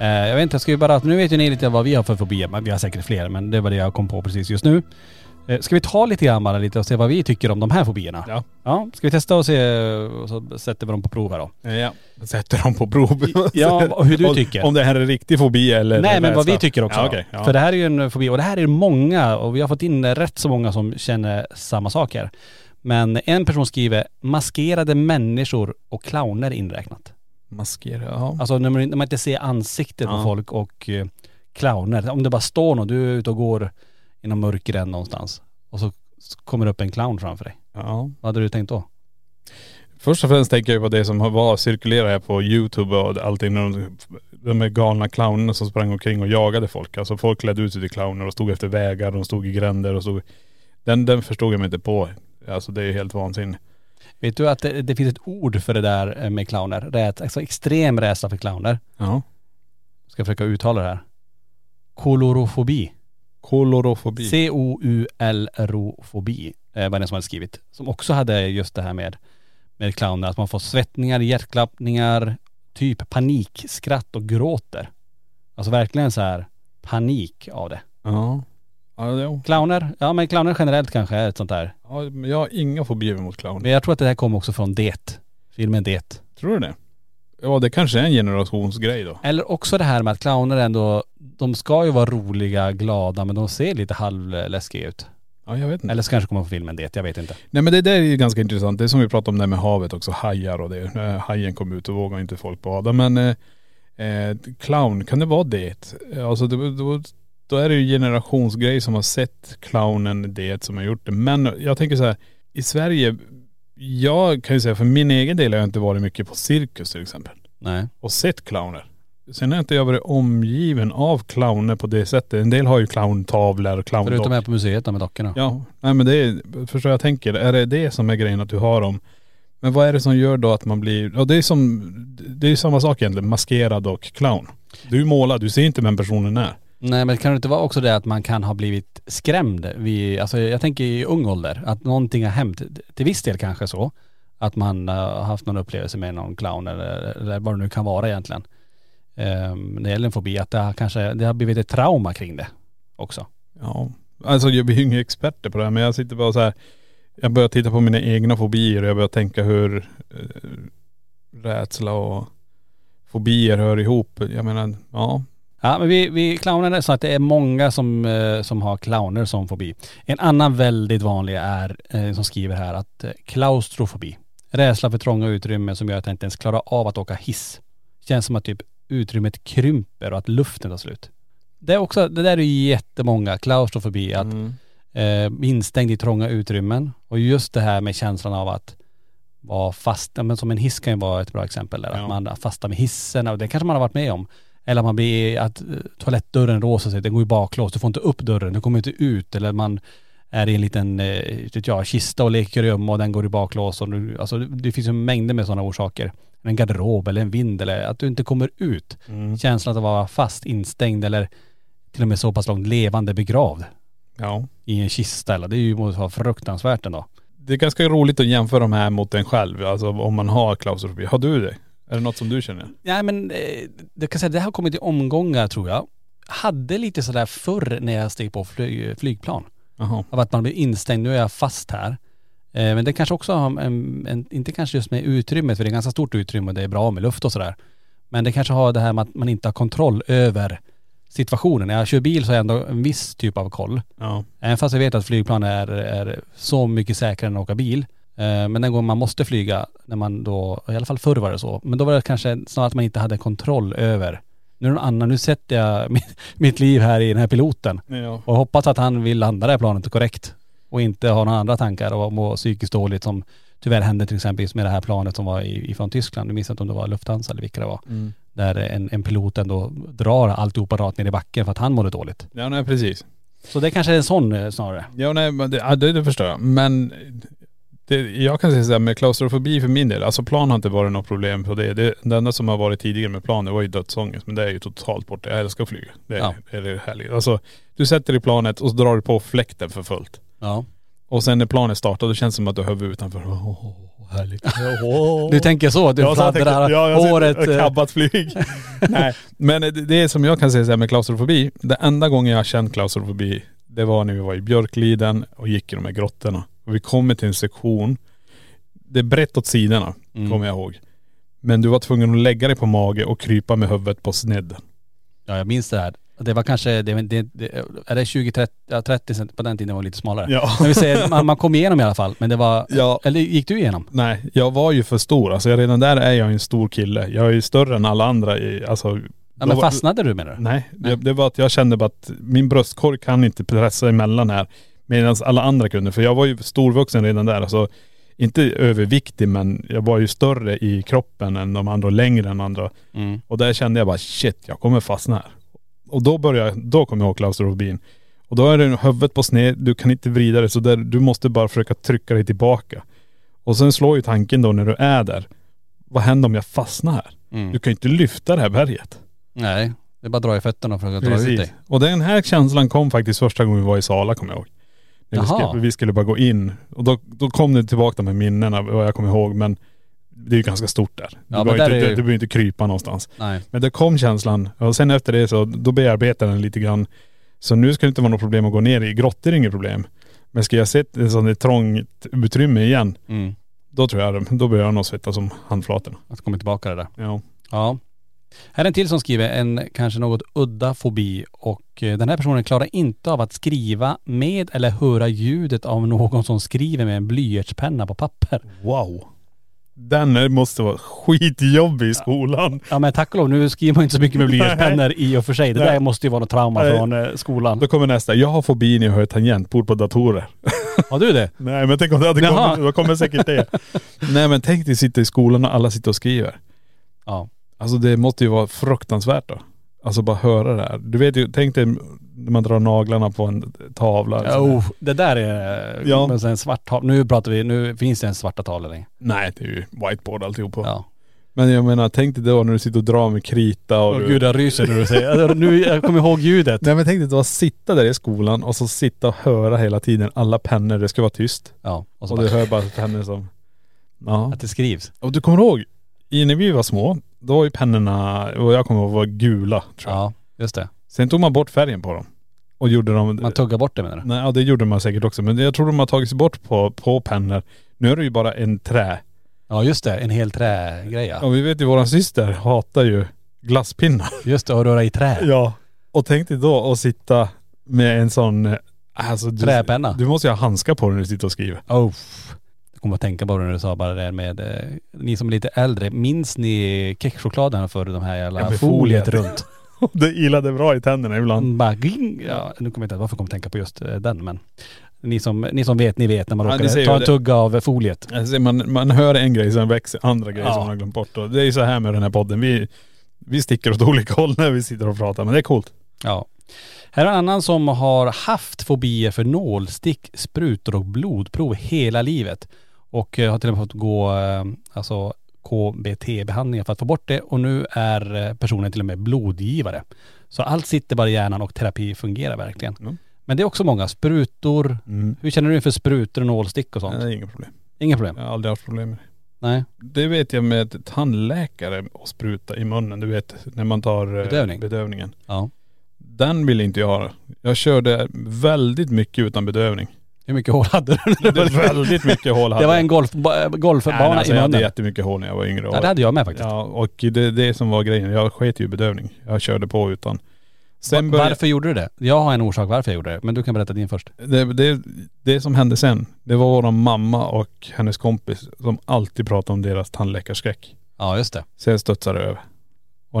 A: Eh, jag vet inte, jag ska ju bara, nu vet ju ni lite vad vi har för fobier, men vi har säkert fler men det var det jag kom på precis just nu. Eh, ska vi ta lite grann bara lite och se vad vi tycker om de här fobierna?
B: Ja.
A: Ja, ska vi testa och se och så sätter vi dem på prov här då.
B: Ja. Sätter dem på prov.
A: Ja, och hur du
B: om,
A: tycker.
B: Om det här är riktig fobi eller
A: Nej men vad
B: rädsla.
A: vi tycker också.
B: Ja,
A: då.
B: okej, ja.
A: För det här är ju en fobi och det här är många och vi har fått in rätt så många som känner samma saker. Men en person skriver maskerade människor och clowner inräknat.
B: Maskera, ja.
A: Alltså när man, när man inte ser ansiktet på
B: Ja.
A: folk och eh, clowner. Om det bara står någon, du är ute och går i någon mörker än någonstans och så s- kommer det upp en clown framför dig.
B: ja.
A: Vad hade du tänkt då?
B: Först och främst tänker jag på det som har- var cirkulerar här på youtube och allting. De, de här galna clownerna som sprang omkring och jagade folk. Alltså folk klädde ut sig till clowner och stod efter vägar, de stod i gränder och stod.. Den, den förstod jag mig inte på. Alltså det är helt vansinne.
A: Vet du att det, det finns ett ord för det där eh, med clowner? Rät, alltså extrem rädsla för clowner.
B: Ja.
A: Ska försöka uttala det här. Kolorofobi.
B: Kolorofobi.
A: C-O-U-L-R-O-fobi eh, var den som hade skrivit. Som också hade just det här med, med clowner, att man får svettningar, hjärtklappningar, typ panikskratt och gråter. Alltså verkligen så här panik av det.
B: ja. Ja, jo.
A: Clowner, ja men clowner generellt kanske är ett sånt där.
B: ja, men jag har inga fobier mot clowner.
A: Men jag tror att det här kom också från Det, filmen Det.
B: Tror du det? Ja det kanske är en generationsgrej då.
A: Eller också det här med att clowner ändå, de ska ju vara roliga, glada men de ser lite halvläskiga ut.
B: Ja jag vet inte.
A: Eller så kanske det kommer från filmen Det, jag vet inte.
B: Nej men det där är ju ganska intressant. Det är som vi pratade om där med havet också, hajar och det. När hajen kom ut och vågade inte folk bada. Men eh, eh, clown, kan det vara det? Eh, Alltså då, då, då är det ju generationsgrej som har sett clownen det som har gjort det. Men jag tänker så här, i Sverige, jag kan ju säga för min egen del har jag inte varit mycket på cirkus till exempel.
A: Nej.
B: Och sett clowner. Sen har inte jag varit omgiven av clowner på det sättet. En del har ju clowntavlor och clowndockor.
A: Förutom här på museet då med dockorna.
B: Ja, nej men det är, förstår jag tänker, är det det som är grejen att du har dem? Men vad är det som gör då att man blir, ja det är som, det är ju samma sak egentligen, maskerad och clown. Du är målad, du ser inte vem personen är.
A: Nej men kan det inte vara också det att man kan ha blivit skrämd vid, alltså jag tänker i ung ålder, att någonting har hänt, till viss del kanske så, att man eh, har haft någon upplevelse med någon clown eller, eller vad det nu kan vara egentligen. Um, när det gäller en fobi, att det har kanske, det har blivit ett trauma kring det också.
B: Ja. Alltså jag blir ju inga experter på det här men jag sitter bara så här, jag börjar titta på mina egna fobier och jag börjar tänka hur eh, rädsla och fobier hör ihop. Jag menar, ja.
A: Ja men vi, vi clownar så att det är många som, eh, som har clowner som fobi. En annan väldigt vanlig är, eh, som skriver här, att eh, klaustrofobi. Rädsla för trånga utrymmen som gör att jag inte ens klarar av att åka hiss. Känns som att typ utrymmet krymper och att luften tar slut. Det, är också, det där är ju jättemånga, klaustrofobi, att eh, instängd i trånga utrymmen. Och just det här med känslan av att vara fast, ja, men som en hiss kan ju vara ett bra exempel där,
B: Ja.
A: att man fastar med hissen och det kanske man har varit med om. Eller att man blir, att eh, toalettdörren låser sig, den går ju baklås, du får inte upp dörren, du kommer inte ut eller man är i en liten, eh, inte vet jag, kista och leker gömma och den går i baklås och du, alltså det- det finns ju mängder med sådana orsaker. En garderob eller en vind eller att du inte kommer ut. Känslan att vara fast instängd eller till och med så pass långt levande begravd
B: ja.
A: i en kista eller det är ju måste vara fruktansvärt ändå.
B: Det är ganska roligt att jämföra de här mot en själv, alltså om man har klaustrofobi. Har du det? Är det något som du känner?
A: Nej men eh, det kan säga det har kommit i omgångar tror jag. Hade lite sådär förr när jag steg på flyg, flygplan.
B: Jaha.
A: Av att man blir instängd, nu är jag fast här. Eh, men det kanske också har en, en, inte kanske just med utrymmet för det är ganska stort utrymme och det är bra med luft och sådär. Men det kanske har det här med att man inte har kontroll över situationen. När jag kör bil så har jag ändå en viss typ av koll.
B: Ja.
A: Även fast jag vet att flygplan är, är så mycket säkrare än att åka bil. Eh, Men den gången man måste flyga, när man då, i alla fall förr var det så, men då var det kanske snarare att man inte hade kontroll över. Nu är det någon annan, nu sätter jag mitt, mitt liv här i den här piloten
B: Ja.
A: och hoppas att han vill landa det här planet korrekt och inte ha några andra tankar och må psykiskt dåligt som tyvärr hände till exempel just med det här planet som var i- ifrån Tyskland. Nu minns jag inte om det var Lufthansa eller vilka det var. Där en, en pilot ändå drar alltihopa rakt ner i backen för att han mådde dåligt.
B: ja, nej precis.
A: Så det kanske är en sån eh, snarare.
B: Ja, nej, men det, ja, det, det förstår jag. Men det, jag kan säga så här med klaustrofobi för min del, alltså plan har inte varit något problem på det. det. Det enda som har varit tidigare med plan, det var ju dödsångest. Men det är ju totalt borta. Jag älskar att flyga. Det är,
A: Ja.
B: det är härligt. Alltså, du sätter dig i planet och så drar du på fläkten för fullt.
A: Ja.
B: Och sen när planet startar, då känns det som att du har huvudet utanför. Åh, härligt. Åh.
A: Du tänker så, att du
B: Ja, så jag tänkte-
A: fladdrar,
B: ja, jag sitter-
A: håret.
B: jag
A: eh,
B: Kabbat flyg. Nej, men det, det är som jag kan säga så här med klaustrofobi. Det enda gången jag har känt klaustrofobi, det var när vi var i Björkliden och gick i de här grottorna. Och vi kommer till en sektion. Det är brett åt sidorna,
A: Mm.
B: kommer jag ihåg. Men du var tvungen att lägga dig på mage och krypa med huvudet på snedden.
A: Ja, jag minns det här. Det var kanske, det, det, det, är det 20-30 ja, 30 cent, på den tiden var det lite smalare.
B: Ja.
A: Men vi säger, man, man kom igenom i alla fall. Men det var,
B: Ja.
A: eller gick du igenom?
B: Nej, jag var ju för stor. Alltså jag, redan där är jag ju en stor kille. Jag är ju större än alla andra. I, alltså,
A: Ja, men
B: då var-
A: fastnade du menar du?
B: Nej, Det, det var att jag kände bara att min bröstkorg kan inte pressa emellan här. Medan alla andra kunde. För jag var ju storvuxen redan där. Alltså, inte överviktig men jag var ju större i kroppen än de andra och längre än andra.
A: Mm.
B: Och där kände jag bara shit, jag kommer fastna här. Och då började, då kom jag ihåg klaustrofobin. Och då är det huvudet på sned, du kan inte vrida dig så där, du måste bara försöka trycka dig tillbaka. Och sen slår ju tanken då när du är där, vad händer om jag fastnar här?
A: Mm.
B: Du kan ju inte lyfta det här berget.
A: Nej. Det är bara att dra i fötterna för att dra ut dig.
B: Och den här känslan kom faktiskt första gången vi var i Sala kommer jag ihåg. När vi
A: Jaha.
B: skulle, vi skulle bara gå in. Och då, då kom det tillbaka de här minnena vad jag kommer ihåg. Men det är ju ganska stort där. Du,
A: men
B: behöver
A: där
B: inte,
A: är
B: du,
A: ju-
B: du behöver inte krypa någonstans.
A: Nej.
B: Men det kom känslan. Och sen efter det så då bearbetade den lite grann. Så nu ska det inte vara något problem att gå ner i grottor, är inget problem. Men ska jag se ett sånt trångt utrymme igen,
A: Mm.
B: då tror jag då börjar jag nog svettas om handflatorna.
A: Att komma tillbaka det där.
B: Ja.
A: Ja. Här är en till som skriver en kanske något udda fobi och eh, den här personen klarar inte av att skriva med eller höra ljudet av någon som skriver med en blyertspenna på papper.
B: Wow. Den måste vara skitjobbig i skolan.
A: Ja men tack och lov, nu skriver man inte så mycket med blyertspennor i och för sig. Det där måste ju vara något trauma
B: Nej.
A: från eh, skolan.
B: Då kommer nästa. Jag har fobi när jag hör tangentbord på datorer.
A: Har du det?
B: Nej men tänk om det hade
A: Jaha.
B: kommit. Då kommer säkert det. Nej men tänk dig sitta i skolan och alla sitter och skriver.
A: Ja.
B: Alltså det måste ju vara fruktansvärt då. Alltså bara höra det här. Du vet ju, tänk dig när man drar naglarna på en tavla. Alltså,
A: Ja, oh, det där är eh,
B: Ja.
A: men sen svart tal. Nu pratar vi, nu finns det en svarta tavla längre.
B: Nej det är ju whiteboard alltihopa.
A: Ja.
B: Men jag menar tänk dig då när du sitter och drar med krita och
A: Åh
B: du...
A: gud jag ryser när du säger, alltså, nu, jag kommer ihåg ljudet.
B: Nej men tänk dig då att sitta där i skolan och så sitta och höra hela tiden alla pennor. Det ska vara tyst.
A: Ja, och så
B: Och
A: bara,
B: du hör bara pennor som.. Ja.
A: att det skrivs.
B: Och du kommer ihåg, i när vi var små, då var ju pennorna, och jag kommer ihåg, var gula tror jag.
A: Ja, just det.
B: Sen tog man bort färgen på dem. och gjorde dem..
A: Man tuggar bort det menar du?
B: Nej, ja, det gjorde man säkert också. Men jag tror de har tagits bort på, på pennor. Nu är det ju bara en trä.
A: Ja just det, en hel trägrej ja.
B: Och vi vet ju, våran syster hatar ju glasspinnar.
A: Just det, och röra i trä.
B: Ja. Och tänk dig då att sitta med en sån.. eh, Alltså, du,
A: Träpenna.
B: Du måste ju ha handskar på dig när du sitter och skriver.
A: Oh. Jag kommer att tänka på det när du sa bara det där med, eh, ni som är lite äldre, minns ni kexchokladen för de här jävla
B: Ja, med
A: foliet
B: foliet.
A: runt?
B: Det ilade bra i tänderna ibland.
A: Mm, Bara, ging. ja, nu kommer jag inte varför jag kommer tänka på just eh, den men ni som, ni som vet, ni vet när man
B: Ja, ni
A: råkar
B: ser
A: ta
B: ju
A: en
B: det.
A: tugga av foliet.
B: Alltså man, man hör en grej, sen växer andra grejer
A: Ja.
B: som man har glömt bort. Och det är ju så här med den här podden. Vi, vi sticker åt olika håll när vi sitter och pratar, men det är coolt.
A: Ja. Här är en annan som har haft fobier för nålstick, sprutor och blodprov hela livet. Och eh, har till och med fått gå eh, alltså KBT-behandlingar för att få bort det. Och nu är eh, personen till och med blodgivare. Så allt sitter bara i hjärnan och terapi fungerar verkligen.
B: Mm.
A: Men det är också många sprutor.
B: Mm.
A: Hur känner du inför sprutor och nålstick och
B: Det
A: sånt?
B: är inga problem.
A: Inga problem?
B: Jag har aldrig haft problem med det.
A: Nej.
B: Det vet jag med tandläkare och spruta i munnen. Du vet när man tar eh,
A: Bedövning.
B: bedövningen.
A: Ja.
B: Den vill inte jag ha. Jag körde väldigt mycket utan bedövning.
A: Hur mycket hål hade du?
B: Det var väldigt mycket hål hade
A: Det var
B: jag.
A: en golfba-
B: Nej,
A: golfbana
B: men alltså,
A: i
B: Jag
A: munnen.
B: hade jättemycket hål när jag var yngre.
A: Ja, det hade jag med faktiskt.
B: Ja, och det är det som var grejen. Jag sket ju i bedövning. Jag körde på utan. Sen
A: Va-
B: började-
A: Varför gjorde du det? Jag har en orsak varför jag gjorde det, men du kan berätta din först.
B: det, det, det som hände sen, det var vår mamma och hennes kompis som alltid pratade om deras tandläkarskräck.
A: Ja just det.
B: Så jag studsade över. Och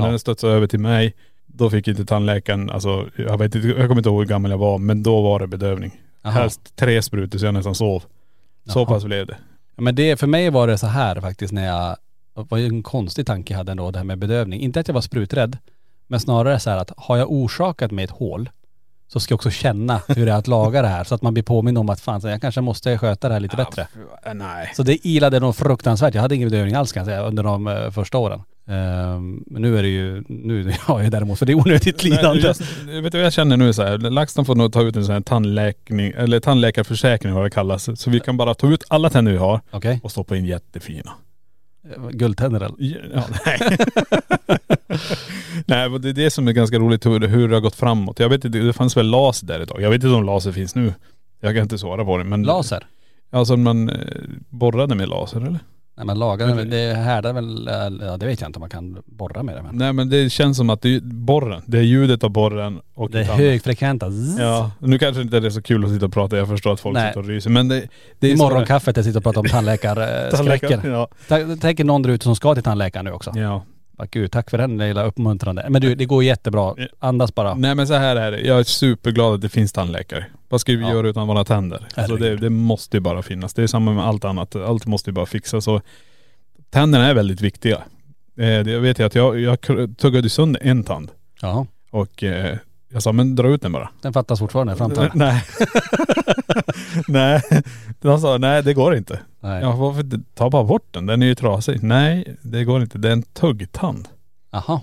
A: Ja.
B: när den studsade över till mig, då fick inte tandläkaren, alltså jag vet inte, jag kommer inte ihåg hur gammal jag var, men då var det bedövning.
A: Jaha.
B: Helst tre sprutor så jag nästan sov.
A: Jaha.
B: Så pass blev det.
A: Ja, Men det, för mig var det så här faktiskt när jag, det var ju en konstig tanke jag hade ändå det här med bedövning. Inte att jag var spruträdd, men snarare så här att har jag orsakat mig ett hål så ska jag också känna hur det är att laga det här så att man blir påmind om att fan så jag kanske måste sköta det här lite bättre.
B: Ja, nej.
A: Så det ilade nog fruktansvärt. Jag hade ingen bedövning alls kan jag säga under de eh, första åren. Ehm, men nu är det ju, nu har jag ju däremot för det är onödigt
B: Nej,
A: lidande.
B: jag, vet du vad jag känner nu så här? LaxTon får nog ta ut en sån här tandläkning, eller tandläkarförsäkring vad det kallas. Så vi kan bara ta ut alla tänder vi har
A: Okej,
B: och stoppa in jättefina.
A: guldtänder eller?
B: Ja, nej. nej, men det är det som är ganska roligt hur, hur det har gått framåt. Jag vet inte, det fanns väl laser där ett tag. Jag vet inte om laser finns nu. Jag kan inte svara på det. Men
A: Laser?
B: Alltså man eh, borrade med laser eller?
A: Nej men lagar,
B: Okej.
A: det härdar väl, eh, ja det vet jag inte om man kan borra med det men.
B: Nej men det känns som att det är borren. Det är ljudet av borren och
A: Det
B: ett
A: är
B: annat.
A: högfrekventa. zzz.
B: Ja, nu kanske inte det är så kul att sitta och prata. Jag förstår att folk
A: Nej.
B: sitter och ryser. Men det, det
A: I
B: är
A: morgonkaffet jag sitter och pratar om tandläkarskräcken.
B: Ja.
A: Ta- Tänk er någon där ute som ska till tandläkaren nu också.
B: ja.
A: Ja. Gud, tack för den lilla uppmuntrande. Men du, det går jättebra. Andas bara.
B: Nej men så här är det. Jag är superglad att det finns tandläkare. Vad ska vi
A: Ja.
B: göra utan våra tänder? Alltså det,
A: Herregud.
B: det måste ju bara finnas. Det är samma med allt annat. Allt måste ju bara fixas. Och tänderna är väldigt viktiga. Eh, det jag vet jag att jag, jag kr- tuggade sönder en tand.
A: Ja.
B: Och eh, jag sa, men dra ut den bara.
A: Den fattas fortfarande framtiden.
B: Nej. nej. De sa, nej det går inte.
A: Nej.
B: Ja, varför inte? Ta bara bort den. Den är ju trasig. Nej, det går inte. Det är en tuggtand.
A: Jaha.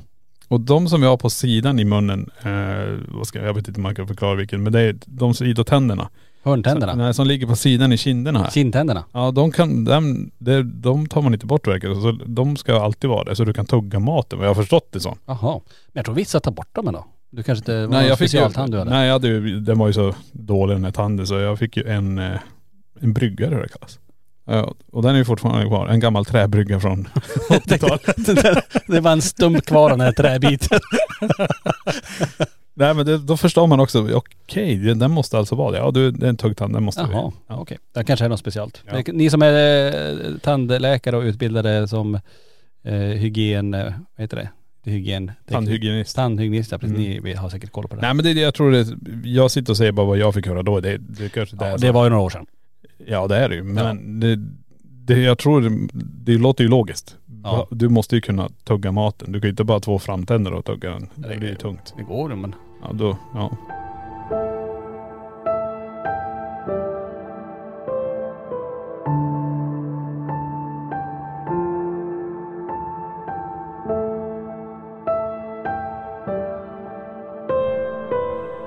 B: Och de som vi har på sidan i munnen, eh, vad ska jag, jag vet inte om man kan förklara vilken, men det är de sidotänderna.
A: Hörntänderna.
B: Nej, som ligger på sidan i kinderna här.
A: Kindtänderna.
B: Ja, de kan, de, de, de tar man inte bort verkar det som. så de ska alltid vara där så du kan tugga maten vad jag har förstått det som.
A: Jaha. Men jag tror vissa tar bort dem ändå. Du kanske inte, var någon
B: ju,
A: specialtand du hade?
B: nej jag hade ju, den var ju så dålig den här tanden så jag fick ju en, eh, en brygga eller vad det kallas. Ja, och den är ju fortfarande kvar, en gammal träbrygga från 80-talet.
A: det var en stump kvar av den här träbiten.
B: Nej men det, då förstår man också, okej den- den måste alltså vara det. Ja du, det är en tuggtand, den måste vi.
A: Jaha,
B: Ja.
A: okej. Det kanske är något speciellt.
B: Ja.
A: Ni som är eh, tandläkare och utbildade som eh, hygien, eh, vad heter det? det är hygien,
B: Tandhygienist. Mm.
A: Tandhygienist, ja, precis. Ni vi har säkert koll på det.
B: Nej men det, är det jag tror det, jag sitter och säger bara vad jag fick höra då. Det, det kanske det
A: ja,
B: är
A: det
B: så.
A: var ju några år sedan.
B: Ja det är det ju. Men det, det, jag tror det, det låter ju logiskt.
A: Ja.
B: Du måste ju kunna tugga maten. Du kan ju inte bara ha två framtänder och tugga den. Det blir ju tungt.
A: Det går ju, men..
B: Ja då, ja.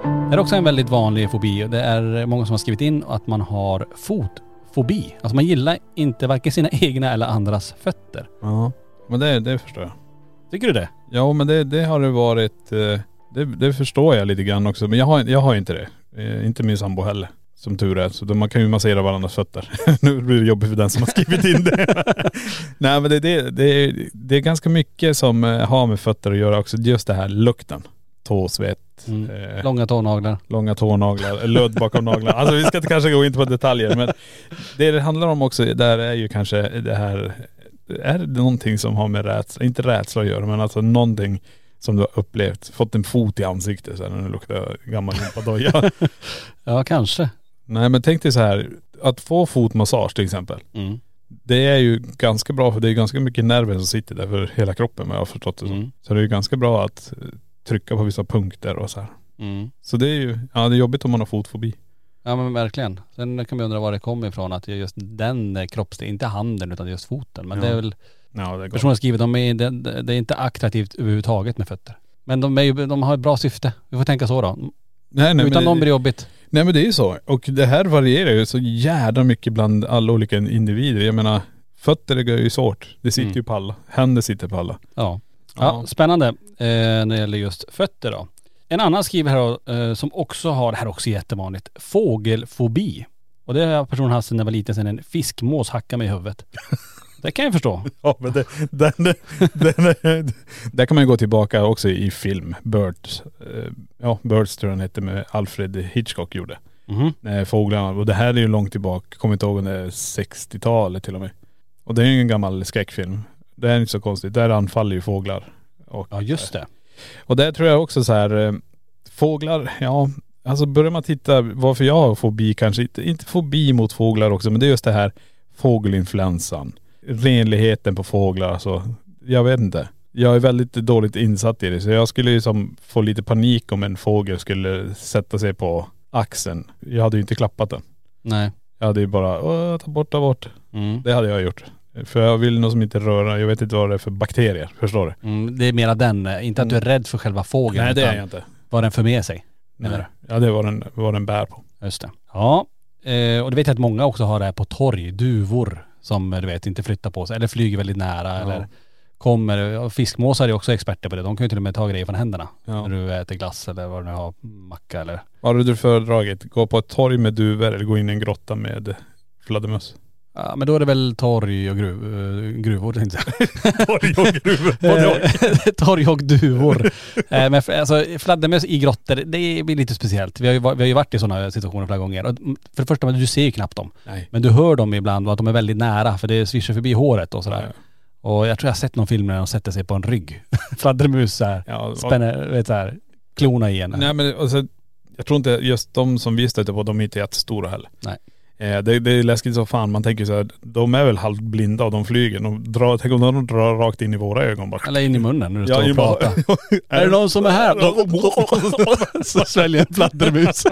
A: Det är också en väldigt vanlig fobi. Det är många som har skrivit in att man har fotfobi. Alltså man gillar inte varken sina egna eller andras fötter.
B: Men det, det förstår jag.
A: Tycker du det?
B: Ja men det, det har det varit. eh, Det, det förstår jag lite grann också. Men jag har, jag har inte det. Eh, inte min sambo heller. Som tur är. Så då man kan ju massera varandras fötter. nu blir det jobbigt för den som har skrivit in det. Nej men det, det, det, är- det är ganska mycket som eh, har med fötter att göra också. Just det här lukten. Tåsvett.
A: Mm.
B: Eh,
A: Långa tånaglar.
B: långa tånaglar, lödd bakom naglarna. Alltså vi ska inte kanske gå in på detaljer men det det handlar om också där är ju kanske det här, är det någonting som har med rädsla, inte rädsla att göra men alltså någonting som du har upplevt, fått en fot i ansiktet sen när du luktar gammal gympadoja.
A: Ja kanske.
B: Nej men tänk dig så här, att få fotmassage till exempel.
A: Mm.
B: Det är ju ganska bra för det är ganska mycket nerver som sitter där för hela kroppen vad jag har förstått det som.
A: Mm.
B: Så det är ju ganska bra att eh, trycka på vissa punkter och så här.
A: Mm.
B: Så det är ju, ja det är jobbigt om man har fotfobi.
A: Ja men verkligen. Sen kan man undra var det kommer ifrån att det är just den eh, kroppsdelen, inte handen utan just foten. Men
B: Ja.
A: det är väl,
B: Ja det går.
A: personen har skrivit, de är, det, det är inte attraktivt överhuvudtaget med fötter. Men de, är, ju- de har ett bra syfte. Vi får tänka så då.
B: Nej, nej,
A: utan
B: men,
A: dem blir det jobbigt.
B: nej men det är ju så. Och det här varierar ju så jävla mycket bland alla olika individer. Jag menar, fötter det går ju svårt. Det sitter
A: Mm.
B: ju på alla. Händer sitter på alla.
A: Ja. Ja,
B: Ja.
A: spännande eh, när det gäller just fötter då. En annan skriver här då, eh, som också har, det här är också jättevanligt, fågelfobi. Och det har personen haft sedan jag var liten, sedan en fiskmås hackade mig i huvudet. Det kan jag förstå.
B: Ja men det, den, Där kan man ju gå tillbaka också i film. Birds, eh, ja Birds tror jag den hette med Alfred Hitchcock gjorde.
A: Mhm.
B: När fåglarna, och det här är ju långt tillbaka, kommer inte ihåg om det är 60-talet till och med. Och det är ju en gammal skräckfilm. Det är inte så konstigt, där anfaller ju fåglar. Och
A: Ja just det.
B: Och där tror jag också så här, eh, fåglar, ja, alltså börjar man titta varför jag har fobi kanske, inte, inte fobi mot fåglar också, men det är just det här fågelinfluensan, renligheten på fåglar, alltså jag vet inte. Jag är väldigt dåligt insatt i det så jag skulle ju som få lite panik om en fågel skulle sätta sig på axeln. Jag hade ju inte klappat den.
A: Nej.
B: Jag hade ju bara, "Åh, ta bort, ta bort.
A: Mm.
B: Det hade jag gjort. För jag vill nog som inte röra, jag vet inte vad det är för bakterier, förstår du?
A: Mm, det är mera den, eh, inte att du är rädd för själva fågeln.
B: Mm. Nej det är
A: utan
B: jag inte.
A: Vad den för med sig. menar
B: Nej. Ja det är vad den, vad den bär på.
A: Just det. Ja. Eh, och det vet jag att många också har det här på torg, duvor som eh, du vet inte flyttar på sig eller flyger väldigt nära eller kommer, ja, fiskmåsar är också experter på det. De kan ju till och med ta grejer från händerna
B: Ja.
A: när du äter glass eller vad du nu har, macka eller..
B: Vad hade du föredragit? Gå på ett torg med duvor eller gå in i en grotta med fladdermöss?
A: Ja men då är det väl torg och gruv, eh, gruvor tänkte jag.
B: Torg och gruvor.
A: Eh, torg och duvor. Eh, men för, alltså, fladdermöss i grottor, det blir lite speciellt. Vi har ju, va- vi har ju varit i sådana situationer flera gånger. Och mm, för det första, men du ser ju knappt dem.
B: Nej.
A: Men du hör dem ibland och att de är väldigt nära för det svischar förbi håret och sådär. Och jag tror jag har sett någon film när de sätter sig på en rygg. Fladdermus såhär,
B: Ja, och-
A: spänner, vet såhär, klona i en.
B: Nej men alltså, jag tror inte just de som vi stöter på, de är inte jättestora heller.
A: Nej.
B: Eh, det, det är läskigt som fan. Man tänker så här, de är väl halvt blinda och de flyger. De drar, tänk om de drar rakt in i våra ögon bara.
A: Eller in i munnen när du
B: Ja,
A: står
B: ju
A: och pratar.
B: bara-
A: Är det någon som är här? Så sväljer en fladdermus.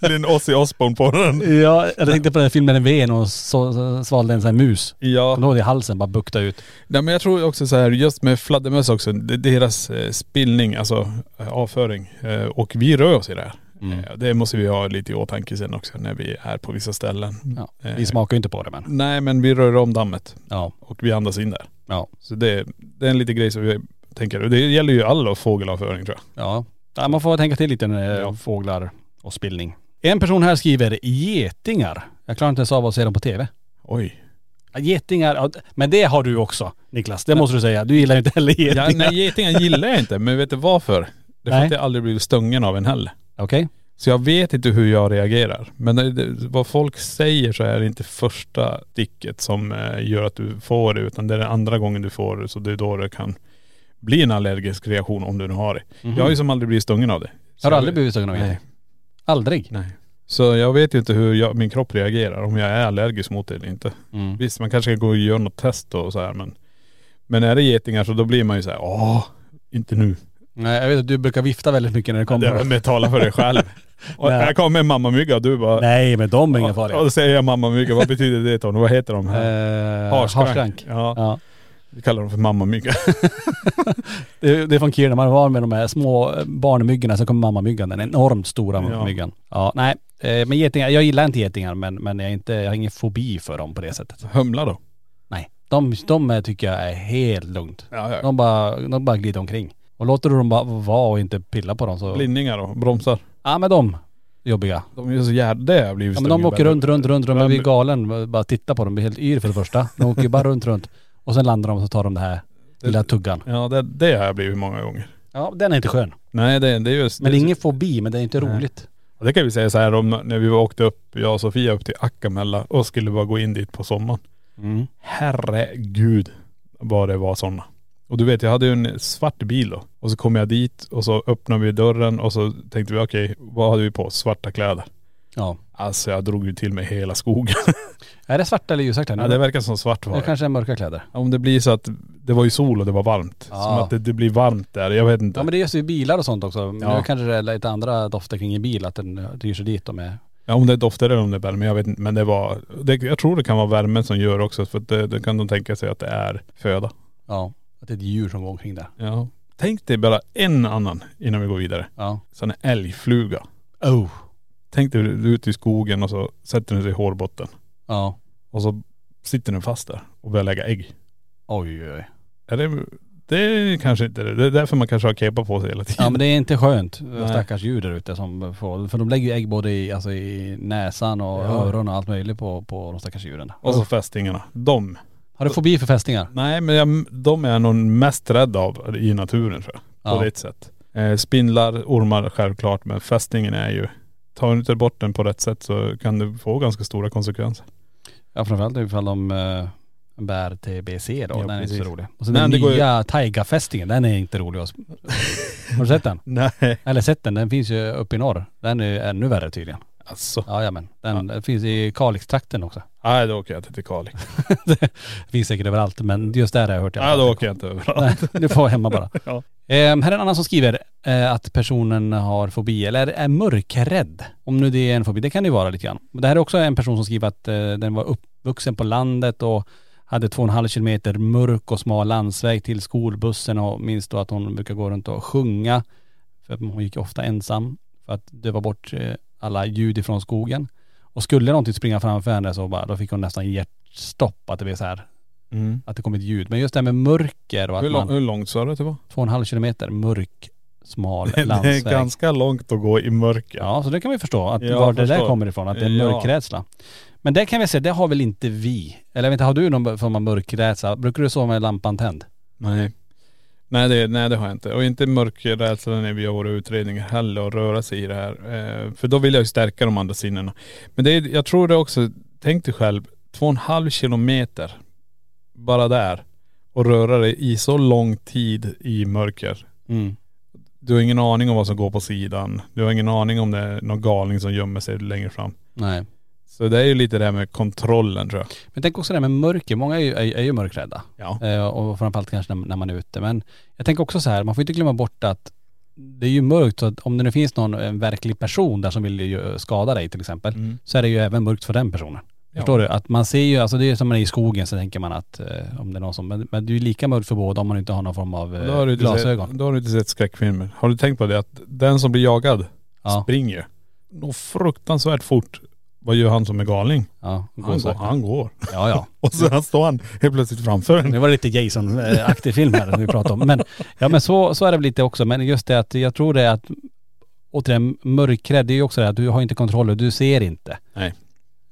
B: Det är en Ozzy Osbourne på den.
A: ja, jag tänkte på den filmen när vi är och så, så, svalde en sån här mus.
B: Ja.
A: Kommer du ihåg det i halsen, bara bukta ut.
B: Nej men jag tror också så här, just med fladdermöss också, det- deras eh, spillning, alltså eh, avföring. Eh, Och vi rör oss i det här.
A: Mm.
B: Eh, Det måste vi ha lite i åtanke sen också när vi är på vissa ställen.
A: Ja.
B: Eh,
A: Vi smakar ju inte på det men.
B: Nej men vi rör om dammet
A: Ja.
B: och vi andas in där.
A: Ja.
B: Så det, det är en liten grej som vi tänker, och det gäller ju all fågelavföring tror jag.
A: Ja. ja, man får tänka till lite när det är
B: Ja.
A: fåglar och spillning. En person här skriver getingar. Jag klarar inte ens av att se dem på tv.
B: Oj.
A: Ja, Getingar, ja, men det har du också Niklas, det måste du säga. Du gillar ju inte heller getingar.
B: Ja, nej getingar gillar jag inte, men vet du varför? Det är för
A: Nej.
B: att jag aldrig blivit stungen av en heller.
A: Okej.
B: Så jag vet inte hur jag reagerar. Men det, det, vad folk säger så är det inte första sticket som eh, gör att du får det utan det är den andra gången du får det. Så det är då det kan bli en allergisk reaktion om du nu har det. Jag har ju som aldrig blivit stungen av det. Så
A: Mhm. Har du
B: jag
A: aldrig
B: vet-
A: blivit stungen av geting?
B: Nej.
A: Aldrig?
B: Nej. Så jag vet ju inte hur jag, min kropp reagerar, om jag är allergisk mot det eller inte.
A: Mm.
B: Visst man kanske kan gå och göra något test och så här men.. Men är det getingar så då blir man ju så här, åh, inte nu.
A: Nej, jag vet att du brukar vifta väldigt mycket när det
B: Det
A: kommer.
B: är med tala för dig själv. och
A: Nej.
B: här kommer en mammamygga och du bara..
A: Nej, men de är inga farliga.
B: Och då säger jag mammamygga, vad betyder det Tony? Vad heter de här?
A: Eh,
B: Harskrank.
A: harskrank.
B: Ja.
A: Ja.
B: Vi kallar dem för mammamygga.
A: Det, det är från Kiruna, man var med de här små eh, barnmyggorna, så kommer mammamyggan, den enormt stora
B: Ja.
A: myggan. Ja, nej. Eh, Men getingar, jag gillar inte getingar men, men jag, är inte, jag har ingen fobi för dem på det sättet.
B: Humla då?
A: Nej. De, de är- tycker jag är helt lugnt.
B: Ja, ja.
A: De bara, de bara glider omkring. Och låter du dem bara vara och inte pilla på dem så..
B: Blindningar då, bromsar.
A: Ja men de jobbiga.
B: De är så jävla.. Det har blivit
A: Ja men de åker
B: störningar.
A: runt, runt, runt, runt. Man
B: Ja,
A: blir galen. Bara titta på dem, blir helt yr för det första. De åker ju bara runt, runt. Och sen landar de och så tar de det här lilla tuggan.
B: Ja det, det har jag blivit många gånger.
A: Ja den är inte skön.
B: Nej det, det är just..
A: Men det
B: det,
A: är ingen fobi, men det är inte roligt.
B: Och det kan vi säga så här om när vi åkte upp, jag och Sofia upp till Akamella och skulle bara gå in dit på sommaren.
A: Mm.
B: Herregud vad det var sådana. Och du vet jag hade ju en svart bil då. Och så kom jag dit och så öppnade vi dörren och så tänkte vi okej, vad hade vi på oss? Svarta kläder.
A: Ja.
B: Alltså jag drog ju till mig hela skogen.
A: Är det svarta eller ljusaktiga?
B: ja, det verkar som svart var
A: det
B: det.
A: kanske är mörka kläder.
B: Om det blir så att det var ju sol och det var varmt.
A: Ja.
B: Som att det, det blir varmt där, jag vet inte.
A: Ja men det görs ju i bilar och sånt också. Men
B: Ja.
A: Nu kanske det är lite andra dofter kring en bil, att den ryr sig dit de är..
B: Ja, om det doftar eller om det är värme, jag vet inte. Men det var.. Det, jag tror det kan vara värmen som gör också. För att det, då kan de tänka sig att det är föda.
A: Ja. Att det är ett djur som går omkring där.
B: Ja. Tänk dig bara en annan innan vi går vidare.
A: Ja.
B: Sån här älgfluga.
A: Oh.
B: Tänk dig du är ute i skogen och så sätter den sig i hårbotten.
A: Ja.
B: Och så sitter den fast där och börjar lägga ägg.
A: Oj oj oj.
B: Är det, det är kanske inte det. Det är därför man kanske har kepa på sig hela tiden.
A: Ja men det är inte skönt. eh,
B: Nej.
A: Stackars djur där ute som får.. För de lägger ju ägg både i, alltså i näsan och
B: Ja. Alltså,
A: öron och allt möjligt på, på de stackars djuren.
B: Och så fästingarna. De.
A: Har du fobi för fästingar?
B: Nej men jag, de är jag nog mest rädd av i naturen tror jag. På
A: Ja.
B: ditt sätt. Eh, spindlar, ormar självklart men fästingen är ju.. Tar du inte bort den på rätt sätt så kan du få ganska stora konsekvenser.
A: Ja framförallt ifall de eh, bär TBC då.
B: Ja,
A: den är inte
B: precis.
A: så rolig. Och sen
B: Nej,
A: den
B: det går ju-
A: nya taigafästingen, den är inte rolig. att- Har du sett den?
B: Nej.
A: Eller sett den, den finns ju uppe i norr. Den är ju ännu värre tydligen.
B: Alltså.
A: Ja, jajamän. Den finns i Kalixtrakten också.
B: Nej då åker jag inte till Kalix.
A: det finns säkert överallt men just där har jag hört i alla
B: Nej
A: fall.
B: då åker jag inte överallt.
A: Nej, du får vara hemma bara.
B: Ja.
A: Ehm, här är en annan som skriver eh, att personen har fobi eller är mörkrädd. Om nu det är en fobi, det kan det ju vara lite grann. Men Det här är också en person som skriver att eh, den var uppvuxen på landet och hade två och en halv kilometer mörk och smal landsväg till skolbussen och minns då att hon brukar gå runt och sjunga. För att hon gick ofta ensam för att döva bort eh, alla ljud ifrån skogen. Och skulle någonting springa framför henne så bara, då fick hon nästan hjärtstopp att det blev så här,
B: Mm.
A: att det kom ett ljud. Men just det här med mörker och
B: Hur,
A: att
B: lång,
A: man,
B: hur långt sa du att det var?
A: två och en halv kilometer mörk, smal
B: Det är
A: landsväg.
B: ganska långt att gå i mörker.
A: Ja, så det kan vi förstå att
B: Ja,
A: var det där
B: förstår.
A: kommer ifrån, att det är
B: Ja.
A: mörkrädsla. Men det kan vi säga, det har väl inte vi? Eller jag vet inte, har du någon form av mörkrädsla? Brukar du sova med lampan tänd?
B: Nej. Nej det, nej det har jag inte. Och inte mörkerrädsla när vi gör våra utredningar heller och röra sig i det här. Eh, för då vill jag ju stärka de andra sinnena. Men det är, jag tror det också, tänk dig själv, två och en halv kilometer bara där och röra dig i så lång tid i mörker.
A: Mm.
B: Du har ingen aning om vad som går på sidan. Du har ingen aning om det är någon galning som gömmer sig längre fram.
A: Nej.
B: Så det är ju lite det här med kontrollen tror jag.
A: Men tänk också det här med mörker, många är ju, är, är ju mörkrädda.
B: Ja.
A: Eh, och framförallt kanske när, när man är ute. Men jag tänker också så här, man får inte glömma bort att det är ju mörkt så att om det nu finns någon, en verklig person där som vill ju eh, skada dig till exempel,
B: Mm.
A: så är det ju även mörkt för den personen.
B: Ja.
A: Förstår du? Att man ser ju, alltså det är som när man är i skogen så tänker man att eh, om det är någon som, men, men det är ju lika mörkt för båda om man inte har någon form av
B: Då har,
A: eh,
B: du inte
A: glasögon.
B: sett, då har du inte sett skräckfilmer. Har du tänkt på det att den som blir jagad
A: Ja.
B: springer ju. Nå fruktansvärt fort. Vad gör han som är galning?
A: Ja,
B: Han går.
A: sakta.
B: Han går.
A: Ja, ja.
B: Och så han står han helt plötsligt framför en.
A: Nu var det lite Jason-aktig film här som vi pratade om. Men, ja, men så, så är det väl lite också. Men just det att jag tror det är att, återigen, mörkrädd, det är ju också det här att du har inte kontroll och du ser inte.
B: Nej.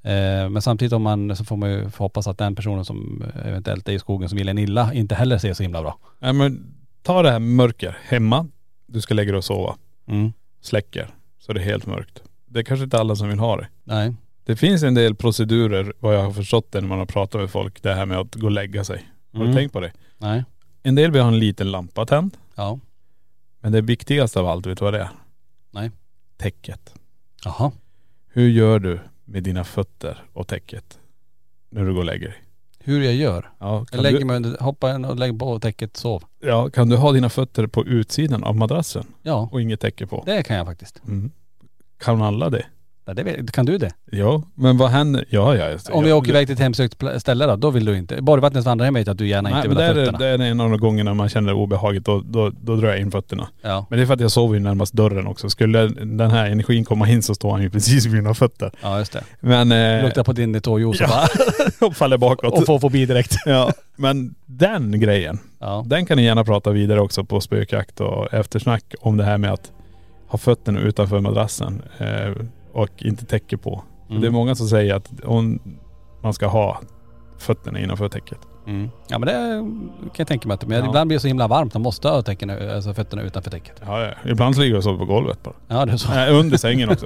A: Eh, men samtidigt om man, så får man ju hoppas att den personen som eventuellt är i skogen som vill en illa inte heller ser så himla bra.
B: Nej men ta det här med mörker. Hemma, du ska lägga dig och sova.
A: Mm.
B: Släcker. Så det är helt mörkt. Det är kanske inte alla som vill ha det.
A: Nej.
B: Det finns en del procedurer, vad jag har förstått det när man har pratat med folk, det här med att gå och lägga sig. Har
A: Mm.
B: du tänkt på det?
A: Nej.
B: En del vill ha en liten lampa tänd.
A: Ja.
B: Men det viktigaste av allt, vet du vad det är?
A: Nej.
B: Täcket.
A: Jaha.
B: Hur gör du med dina fötter och täcket när du går och lägger dig?
A: Hur jag gör?
B: Ja,
A: Jag
B: kan,
A: lägger
B: du,
A: mig under, hoppar in och lägger på täcket, sov.
B: ja, kan du ha dina fötter på utsidan av madrassen
A: Ja,
B: och inget täcke på?
A: det kan jag faktiskt.
B: Mm. Kan alla det?
A: Ja, Det vet, kan du det?
B: Ja, men vad händer? Ja, ja. Just, det.
A: Om vi
B: ja,
A: åker iväg till ett hemsökt pla- ställe då, då vill du inte. Badvattnets vandring vet jag att du gärna
B: Nej,
A: inte
B: men
A: vill ha
B: det är, det
A: fötterna.
B: är en av de gångerna man känner obehaget, då, då, då drar jag in fötterna.
A: Ja.
B: Men det är för att jag sover ju närmast dörren också. Skulle den här energin komma in så står han ju precis vid mina fötter.
A: ja, just det.
B: Men.. Eh,
A: Luktar på din tåjuice och
B: ja,
A: bara
B: och faller bakåt.
A: och får fobi direkt.
B: Ja, men den grejen,
A: Ja.
B: den kan ni gärna prata vidare också på spökjakt och eftersnack om det här med att ha fötterna utanför madrassen eh, och inte täcke på.
A: Mm.
B: Det är många som säger att om man ska ha fötterna innanför täcket.
A: Mm. Ja men det kan jag tänka mig att men
B: Ja.
A: ibland blir det så himla varmt, man måste ha täcken, alltså fötterna utanför täcket.
B: Ja, ja. Ibland så ligger jag och sover på golvet bara.
A: Ja det är så.
B: Nej, under sängen också.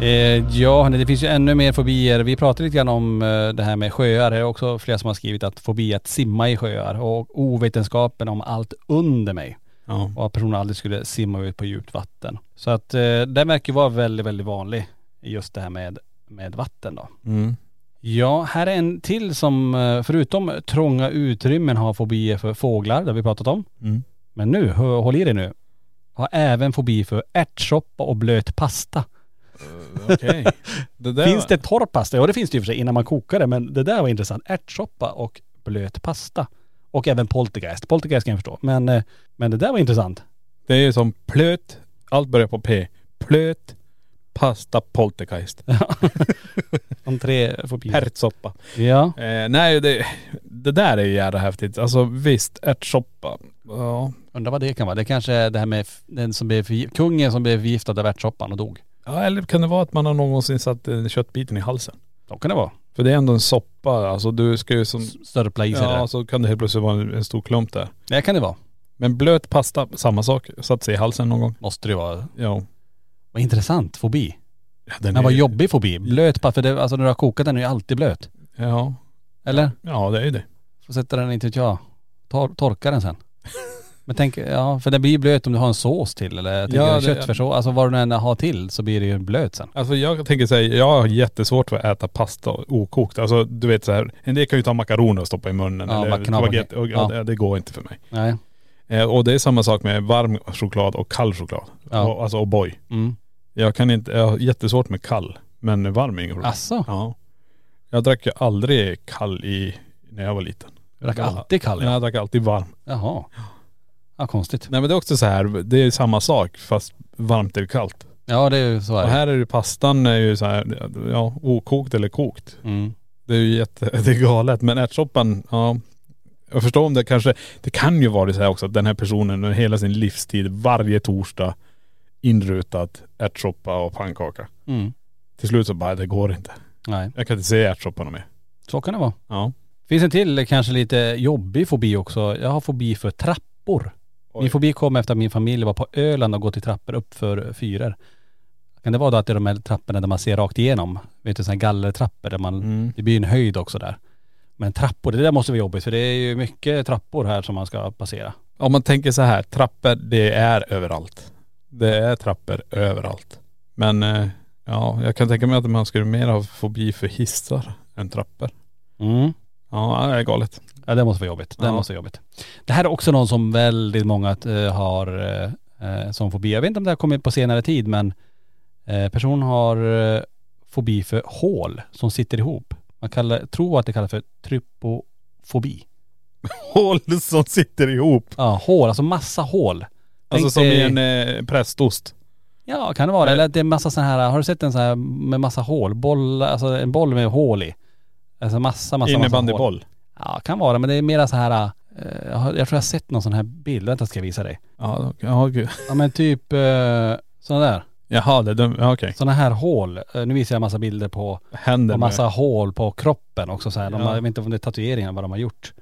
A: Eh, ja hörni, det finns ju ännu mer fobier. Vi pratade lite grann om eh, det här med sjöar. Det är också flera som har skrivit att fobi är att simma i sjöar och ovetenskapen om allt under mig.
B: ja.
A: och att personen aldrig skulle simma ut på djupt vatten. Så att eh, den verkar vara väldigt, väldigt vanlig, just det här med, med vatten då.
B: Mm.
A: Ja, här är en till som eh, förutom trånga utrymmen har fobier för fåglar, det har vi pratat om.
B: Mm.
A: Men nu, hå- håll i dig nu, har även fobi för ärtsoppa och blöt pasta.
B: Okej. Det där
A: Finns
B: var-
A: det torr pasta? Ja det finns det ju för sig innan man kokar det, men det där var intressant. Ärtsoppa och blöt pasta. Och även poltergeist. Poltergeist kan jag förstå. Men, eh, men det där var intressant.
B: Det är ju som plöt, allt börjar på P. Plöt, pasta, poltergeist,
A: De tre fobier.
B: ärtsoppa.
A: Ja.
B: Eh, nej, det, det där är ju jävla häftigt. Alltså visst, ärtsoppa. Ja.
A: Undrar vad det kan vara. Det kanske är det här med f- den som blev förgi- kungen som blev förgiftad av ärtsoppan och dog.
B: ja, eller kan det vara att man har någonsin satt eh, köttbiten i halsen?
A: Så kan det vara.
B: För det är ändå en soppa. Alltså du ska ju som..
A: Störpla i sig
B: Ja,
A: ja.
B: så kan det helt plötsligt vara en, en stor klump där.
A: det. Det kan det vara.
B: Men blöt pasta, samma sak. Satt sig i halsen någon gång.
A: Måste det vara.
B: Ja.
A: Vad intressant fobi.
B: ja den
A: Men
B: är
A: vad
B: ju-
A: jobbig fobi. Blöt bara för det, alltså när du har kokat den är ju alltid blöt.
B: Ja.
A: Eller?
B: Ja, det är ju det.
A: Får sätta den, inte vet jag, tor torka den sen. Men tänk, ja för den blir ju blöt om du har en sås till eller
B: Ja,
A: ja,
B: det-
A: köttfärssås. Alltså vad du än har till så blir det ju blöt sen.
B: Alltså jag tänker säga, jag har jättesvårt för att äta pasta okokt. Alltså du vet så här, en del kan ju ta makaroner och stoppa i munnen
A: Ja,
B: eller
A: makroner.
B: spagetti. Och, ja.
A: Ja.
B: det- Det går inte för mig.
A: Nej.
B: Eh, och det är samma sak med varm choklad och kall choklad.
A: Ja.
B: Och, alltså O'boy.
A: Mm.
B: Jag kan inte, jag har jättesvårt med kall. Men varm är inget problem.
A: Asså?
B: Ja. Jag drack ju aldrig kall i, när jag var liten.
A: Du drack alltid kall
B: ja.
A: ja.
B: Jag drack alltid varm.
A: Jaha. Ja konstigt.
B: Nej men det är också så här, det är samma sak fast varmt eller kallt.
A: Ja det är ju så
B: Och
A: här.
B: här är ju pastan är ju så här, ja okokt eller kokt.
A: Mm.
B: Det är ju jätte, det är galet. Men ärtsoppan, ja. Jag förstår om det kanske, det kan ju vara det så här också att den här personen under hela sin livstid varje torsdag inrutat ärtsoppa och pannkaka.
A: Mm.
B: Till slut så bara, det går inte.
A: Nej.
B: Jag kan inte se ärtsoppan mer.
A: Så kan det vara.
B: Ja.
A: Finns en till kanske lite jobbig fobi också. Jag har fobi för trappor. Min fobi kom efter att min familj var på Öland och gått i trappor upp för fyror. Kan det vara då att det är de här trapporna där man ser rakt igenom? Vet du sådana här gallertrappor där man, det blir ju en höjd också där. Men trappor, det där måste vara jobbigt för det är ju mycket trappor här som man ska passera.
B: Om man tänker så här, trappor det är överallt. Det är trappor överallt. Men eh, ja, jag kan tänka mig att man skulle mer ha fobi för hissar än trappor.
A: Mm.
B: Ja, det är galet.
A: Ja det måste vara jobbigt. Det
B: Ja.
A: måste vara jobbigt. Det här är också någon som väldigt många eh, har eh, som fobi. Jag vet inte om det har kommit på senare tid men eh, personen har eh, fobi för hål som sitter ihop. Man kallar, tror att det kallas för trypofobi.
B: Hål som sitter ihop?
A: Ja, hål, alltså massa hål.
B: Alltså
A: Tänk
B: som i
A: dig-
B: en eh, prästost.
A: Ja, kan det vara. Eller att det är massa sådana här, har du sett en sån här med massa hål? Boll, alltså en boll med hål i. Alltså massa, massa, massa hål.
B: Innebandyboll.
A: Ja, kan vara. Men det är mera så här, eh, jag har- jag tror jag har sett någon sån här bild. Vänta ska jag visa dig.
B: Ja, ja gud.
A: Ja men typ eh, sådana där.
B: Jaha, det är dum, ja, okej.
A: Sådana här hål. Eh, Nu visar jag massa bilder på,
B: Händer
A: på massa
B: med.
A: hål på kroppen också så här. De
B: Ja.
A: har, jag vet inte om det är tatueringar vad de har gjort.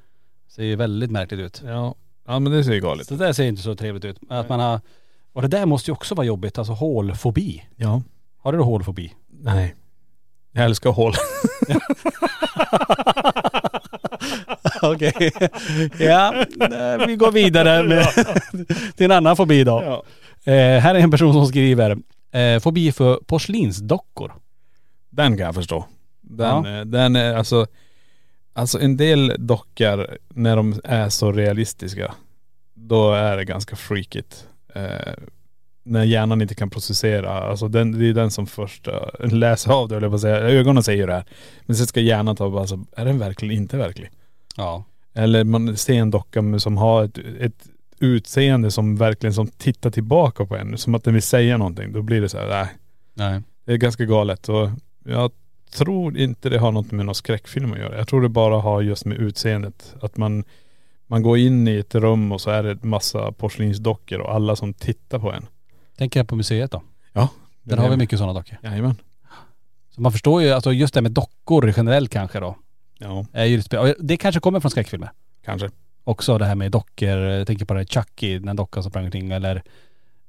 A: Ser ju väldigt märkligt ut.
B: Ja. ja, men det ser ju galet
A: Så det där ser inte så trevligt ut. Att man har, och det där måste ju också vara jobbigt, alltså hålfobi.
B: Ja.
A: Har du då hålfobi?
B: Nej. Jag älskar hål.
A: Okej. Ja, eh, vi går vidare med, till en annan fobi då. Eh, här är en person som skriver, eh, fobi för porslinsdockor.
B: Den kan jag förstå. Den,
A: Ja.
B: eh, den är alltså, alltså en del dockor när de är så realistiska, då är det ganska freakigt. Eh, när hjärnan inte kan processera, alltså den, det är den som först eh, läser av det höll jag på att säga. Ögonen säger det här. Men sen ska hjärnan ta bara, alltså, är den verkligen inte verklig?
A: Ja.
B: Eller man ser en docka med- som har ett, ett utseende som verkligen som tittar tillbaka på en, som att den vill säga någonting. Då blir det så här, äh, nej.
A: Nej.
B: Det är ganska galet och jag tror inte det har något med någon skräckfilm att göra. Jag tror det bara har just med utseendet. Att man, man går in i ett rum och så är det massa porslinsdockor och alla som tittar på en.
A: Tänker jag på museet då.
B: Ja.
A: Där har vi mycket sådana dockor.
B: Jajamän.
A: Så man förstår ju, alltså just det här med dockor generellt kanske då.
B: Ja,
A: Är ju lite spe- och det kanske kommer från skräckfilmer.
B: kanske.
A: Också det här med dockor, jag tänker på det här Chucky, den dockan som sprang omkring eller,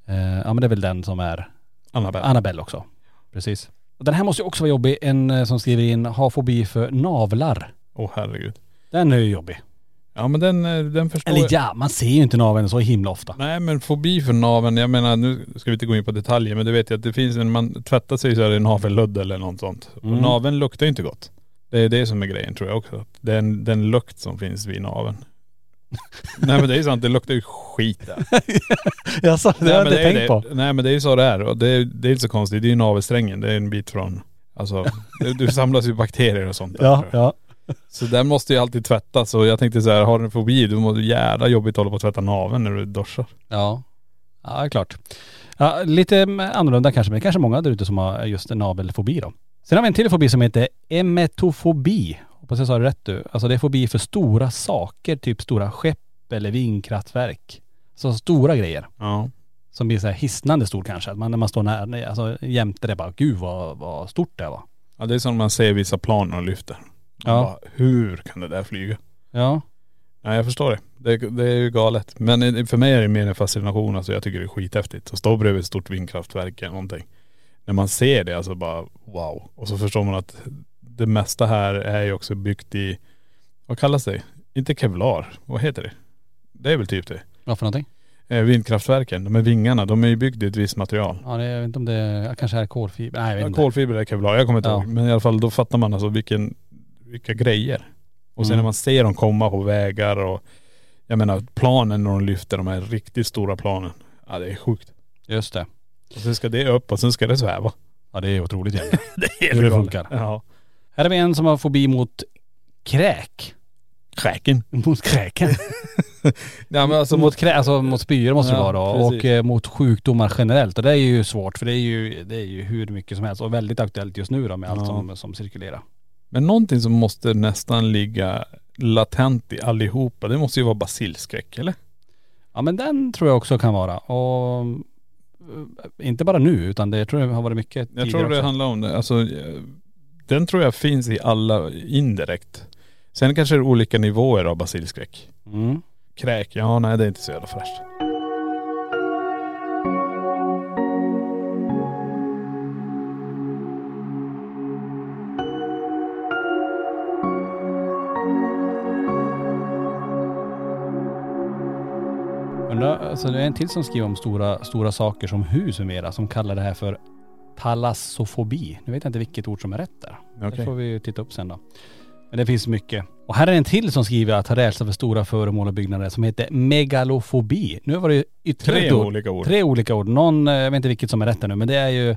A: eh, ja men det är väl den som är
B: Annabelle.
A: Annabelle också. Precis. Och den här måste ju också vara jobbig, en eh, som skriver in, har fobi för navlar.
B: Åh herregud.
A: Den är ju jobbig.
B: Ja men den, eh, den förstår
A: Eller
B: jag.
A: ja, man ser ju inte naveln så himla ofta.
B: Nej men fobi för naveln, jag menar nu ska vi inte gå in på detaljer men du vet ju att det finns, när man tvättar sig så är det navelludd eller något sånt.
A: Mm.
B: Och naveln luktar ju inte gott. Det är det som är grejen tror jag också. Att Den, den lukt som finns vid naveln. Nej men det är ju sant, det luktar ju skit där.
A: Jag sa, det har jag
B: men
A: inte
B: är ju
A: tänkt på.
B: det. Nej men det är ju så det är. Och det, är- det är inte så konstigt, det är ju navelsträngen, det är en bit från, alltså du, du samlas ju bakterier och sånt där.
A: Ja, ja.
B: Så den måste ju alltid tvättas och jag tänkte så här, har du en fobi, då måste du jävla jobbigt hålla på att tvätta naveln när du duschar.
A: Ja. Ja, klart. Ja, lite mm, annorlunda kanske, men kanske många där ute som har just en navelfobi då. Sen har vi en till fobi som heter emetofobi. Hoppas jag sa det rätt du. Alltså det är fobi för stora saker, typ stora skepp eller vindkraftverk. Så stora grejer.
B: Ja.
A: Som blir så här hisnande stor kanske. Att man, när man står nära, alltså jämte det bara, gud vad, vad stort det var.
B: Ja det är som man ser vissa plan och lyfter. Man
A: Ja.
B: Bara, hur kan det där flyga?
A: Ja.
B: Nej jag förstår det. det. Det är ju galet. Men eh, för mig är det mer en fascination. Alltså jag tycker det är skithäftigt. Att stå bredvid ett stort vindkraftverk eller någonting. När man ser det alltså bara wow. Och så förstår man att det mesta här är ju också byggt i, vad kallas det? Inte kevlar, vad heter det? Det är väl typ det.
A: Vad för någonting?
B: Eh, Vindkraftverken, de här vingarna, de är ju byggda i ett visst material.
A: Ja, det, jag vet inte om det kanske är kolfiber. Nej, jag vet
B: Ja,
A: inte.
B: kolfiber eller kevlar, jag kommer inte
A: Ja.
B: ihåg. Men i alla fall då fattar man alltså vilken, vilka grejer. Och sen
A: Mm.
B: när man ser dem komma på vägar och jag menar planen när de lyfter de här riktigt stora planen. Ja det är sjukt.
A: Just det.
B: Och sen ska det upp och sen ska det sväva.
A: Ja, det är otroligt jävla.
B: Det är
A: Hur det
B: galet.
A: funkar.
B: Ja.
A: Här har vi en som har fobi mot kräk.
B: Kräken.
A: Mot kräken.
B: Ja men alltså
A: mot, krä, alltså mot spyor måste det
B: Ja,
A: vara då.
B: precis.
A: Och eh, mot sjukdomar generellt. Och det är ju svårt för det är ju, det är ju hur mycket som helst. Och väldigt aktuellt just nu då med allt
B: Ja.
A: som, som cirkulerar.
B: Men någonting som måste nästan ligga latent i allihopa, det måste ju vara basilskräck eller?
A: Ja men den tror jag också kan vara. Och eh, inte bara nu utan det, jag tror det har varit mycket
B: Jag tror det
A: också.
B: handlar om det. Alltså, eh, den tror jag finns i alla indirekt. Sen kanske det är olika nivåer av basilskräck.
A: Mm.
B: Kräk, ja nej det är inte så jävla fräscht.
A: Undrar, alltså det är en till som skriver om stora, stora saker som hus mera som kallar det här för talassofobi. Nu vet jag inte vilket ord som är rätt där. Det
B: Okej.
A: får vi ju titta upp sen då. Men det finns mycket. Och här är en till som skriver att ha rädsla för stora föremål och byggnader som heter megalofobi. Nu var det ju ytterligare
B: Tre
A: ett
B: olika ord.
A: Tre olika ord. Någon, eh, jag vet inte vilket som är rätt här nu men det är ju,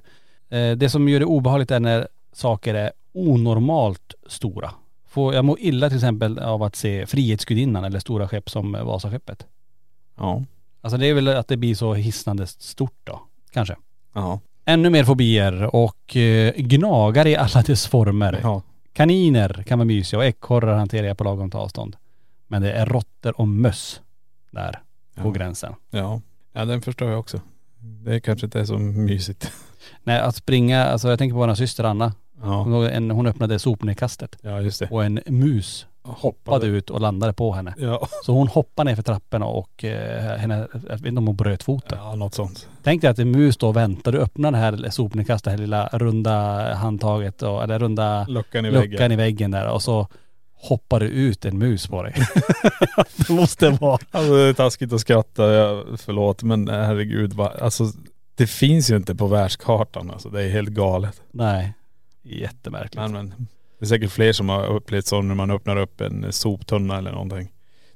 A: eh, det som gör det obehagligt är när saker är onormalt stora. Får, jag mår illa till exempel av att se Frihetsgudinnan eller stora skepp som eh, Vasaskeppet.
B: Ja.
A: Alltså det är väl att det blir så hisnande stort då, kanske.
B: Ja.
A: Ännu mer fobier och eh, gnagare i alla dess former.
B: Ja.
A: Kaniner kan vara mysiga och ekorrar hanterar jag på lagom avstånd. Men det är råttor och möss där på
B: Ja.
A: gränsen.
B: Ja. Ja den förstår jag också. Det kanske inte är så mysigt.
A: Nej att springa, alltså jag tänker på vår syster Anna.
B: Ja.
A: Hon, en, hon öppnade sopnedkastet.
B: Ja just det.
A: Och en mus hoppade ut och landade på henne.
B: Ja.
A: Så hon hoppade ner för trapporna och eh, henne, jag vet inte om hon bröt foten.
B: Ja något sånt.
A: Tänk dig att en mus då väntar, du öppnar det här sopnedkastet, det här lilla runda handtaget och, eller runda
B: Luckan i
A: luckan
B: väggen.
A: i väggen där och så hoppar det ut en mus på dig. det måste vara.
B: Alltså det är taskigt att skratta, jag, förlåt men herregud. Va, alltså det finns ju inte på världskartan alltså. Det är helt galet.
A: Nej, jättemärkligt.
B: Men, men det är säkert fler som har upplevt så när man öppnar upp en soptunna eller någonting.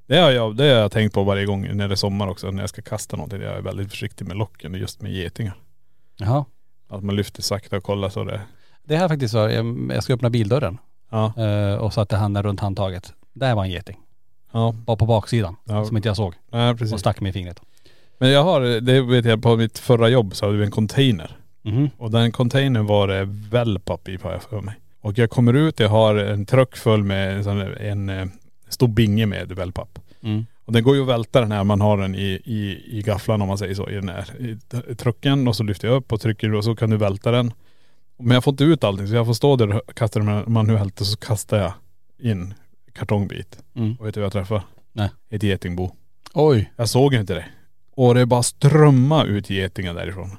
B: Det har, jag, det har jag tänkt på varje gång när det är sommar också, när jag ska kasta någonting. Jag är väldigt försiktig med locken och just med getingar.
A: Jaha.
B: Att man lyfter sakta och kollar så det..
A: Det här faktiskt var, jag jag ska öppna bildörren
B: Ja.
A: eh, och satte handen runt handtaget. Där var en geting.
B: Ja.
A: Bara på baksidan,
B: Ja.
A: som inte jag såg.
B: Nej
A: Och
B: precis.
A: stack mig i fingret.
B: Men jag har, det vet jag på mitt förra jobb så hade vi en container.
A: Mhm.
B: Och den containern var det wellpapp i har jag för mig. Och jag kommer ut, jag har en truck full med en, sån- en eh, stor binge med wellpapp.
A: Mm.
B: Och den går ju att välta den här, man har den i, i, i gafflan om man säger så, i den här i t- trucken och så lyfter jag upp och trycker och så kan du välta den. Men jag får inte ut allting så jag får stå där och kasta den manuellt och så kastar jag in kartongbit.
A: Mm.
B: Och vet du vad jag träffar?
A: Nej.
B: Ett getingbo.
A: Oj,
B: Jag såg ju inte det. Och det bara strömma ut getingar därifrån.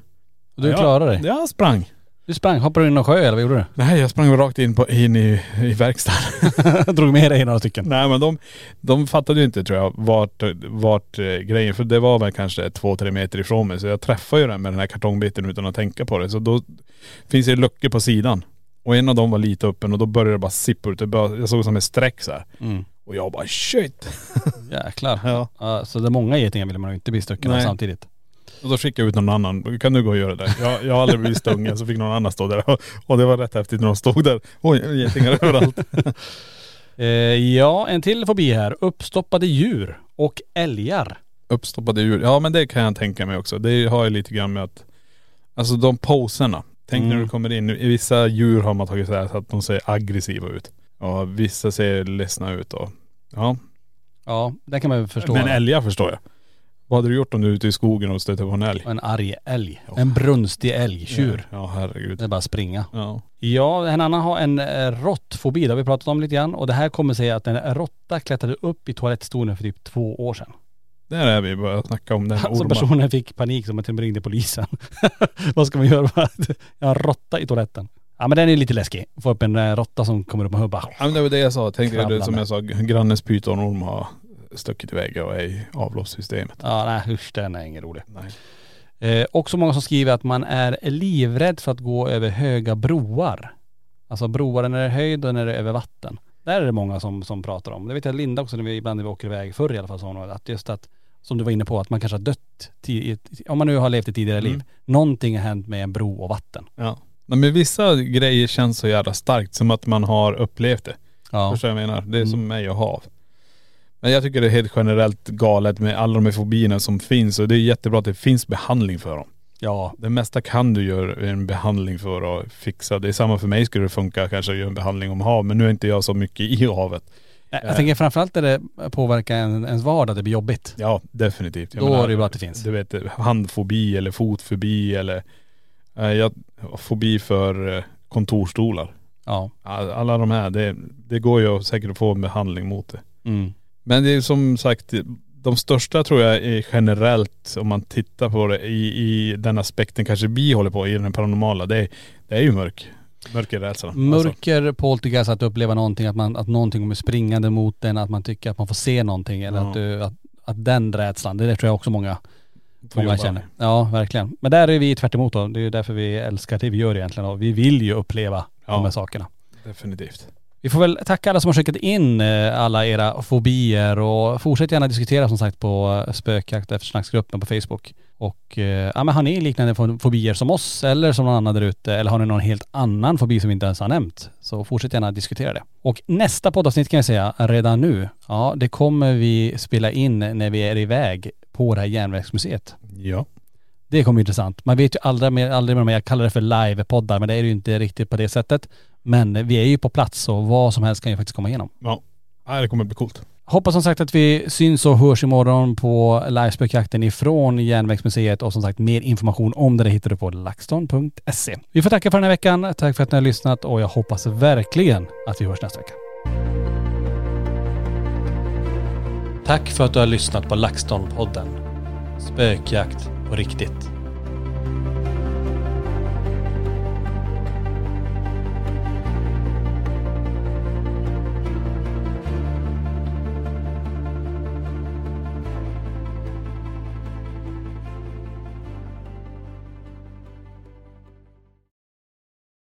A: du
B: Ja,
A: klarade dig.
B: Jag sprang.
A: Du sprang, hoppade du in i någon sjö eller vad gjorde
B: Nej jag sprang rakt in, på, in i, i verkstaden.
A: du? Drog med dig några stycken.
B: Nej men de, de fattade ju inte tror jag vart, vart eh, grejen, för det var väl kanske två, tre meter ifrån mig. Så jag träffade ju den med den här kartongbiten utan att tänka på det. Så då finns det ju luckor på sidan. Och en av dem var lite öppen och då började det bara sippa ut. Det började, jag såg som ett streck så här.
A: Mm.
B: Och jag bara shit.
A: Jäklar.
B: Ja.
A: Ja, så det är många getingar vill man ju inte bli stucken av
B: Nej.
A: samtidigt.
B: Och då skickade jag ut någon annan. Kan du gå och göra det? Jag, jag har aldrig blivit stungen så fick någon annan stå där. Och, och det var rätt häftigt när de stod där. Oj, getingar överallt.
A: Eh, ja, en till fobi här. Uppstoppade djur och älgar.
B: Uppstoppade djur. Ja men det kan jag tänka mig också. Det har ju lite grann med att.. Alltså de poserna. Tänk när
A: Mm.
B: du kommer in. I Vissa djur har man tagit så här så att de ser aggressiva ut. Och vissa ser ledsna ut och.. Ja.
A: Ja, det kan man ju förstå.
B: Men älgar förstår jag. Vad hade du gjort om du är ute i skogen och stöter på en älg?
A: Och en arg älg. En brunstig älgtjur.
B: Ja
A: Det
B: herregud.
A: är bara att springa.
B: Ja.
A: Ja, en annan har en eh, råttfobi. Det har vi pratat om lite grann. Och det här kommer säga att en råtta klättrade upp i toalettstolen för typ två år sedan.
B: Där är vi började snacka om den
A: Alltså
B: ormar.
A: personen fick panik som att de ringde polisen. Vad ska man göra? Jag har en råtta i toaletten. Ja men den är lite läskig. Få upp en eh, råtta som kommer upp och hubbar.
B: Ja men det var det jag sa. Tänk dig det
A: Kravla
B: som
A: med.
B: jag sa, grannens pytonorm har stuckit iväg och är i avloppssystemet.
A: Ja nej usch den är ingen rolig.
B: Nej.
A: Eh, också många som skriver att man är livrädd för att gå över höga broar. Alltså broar när det är höjd och när det är över vatten. Där är det många som, som pratar om. Det vet jag Linda också när vi, ibland när vi åker iväg, förr i alla fall sa hon att just att, som du var inne på, att man kanske har dött, ti- i- om man nu har levt ett tidigare liv. Någonting har hänt med en bro och vatten.
B: Ja. Nej, men vissa grejer känns så jävla starkt som att man har upplevt det.
A: Ja. Mm.
B: Förstår du vad jag menar? Det är som mig och hav. Men jag tycker det är helt generellt galet med alla de här fobierna som finns och det är jättebra att det finns behandling för dem.
A: Ja,
B: Det mesta kan du göra en behandling för att fixa. Det är samma för mig skulle det funka kanske att göra en behandling om hav men nu är inte jag så mycket i havet.
A: Nej, Jag tänker framförallt när det påverkar en- ens vardag, det blir jobbigt.
B: Ja, definitivt. Jag
A: Då
B: menar,
A: är det ju bra att det finns.
B: Du vet, handfobi eller fotfobi eller.. eh, Jag har fobi för eh, kontorstolar.
A: Ja.
B: All- Alla de här, det, det går ju säkert att få en behandling mot det.
A: Mm.
B: Men det är som sagt, de största tror jag är generellt, om man tittar på det i, i den aspekten kanske vi håller på i den paranormala, det, är- det är ju mörk. Mörkerrädslan. Alltså,
A: Mörker, poltergeist, att uppleva någonting, att, man, att någonting kommer springande mot den, att man tycker att man får se någonting eller
B: Ja.
A: att, du, att, att den rädslan, det tror jag också många,
B: Får
A: många
B: jobba
A: känner. Ja, verkligen. Men där är vi tvärt emot då. Det är ju därför vi älskar det vi gör egentligen och vi vill ju uppleva de här sakerna.
B: definitivt.
A: Vi får väl tacka alla som har skickat in eh, alla era fobier och fortsätt gärna diskutera som sagt på eh, spökjakt och eftersnacksgruppen på Facebook. Och eh, ja, men har ni liknande fo- fobier som oss eller som någon annan där ute eller har ni någon helt annan fobi som vi inte ens har nämnt så fortsätt gärna diskutera det. Och nästa poddavsnitt kan jag säga redan nu, ja det kommer vi spela in när vi är iväg på det här järnvägsmuseet.
B: Ja.
A: Det kommer bli intressant. Man vet ju aldrig med, aldrig med de här, jag kallar det för livepoddar, men det är ju inte riktigt på det sättet. Men vi är ju på plats och vad som helst kan ju faktiskt komma igenom.
B: Ja. Nej, det kommer bli coolt.
A: Hoppas som sagt att vi syns och hörs imorgon på livespökjakten ifrån Järnvägsmuseet och som sagt mer information om det där hittar du på laxton.se. Vi får tacka för den här veckan. Tack för att ni har lyssnat och jag hoppas verkligen att vi hörs nästa vecka. Tack för att du har lyssnat på LaxTon-podden. Spökjakt på riktigt.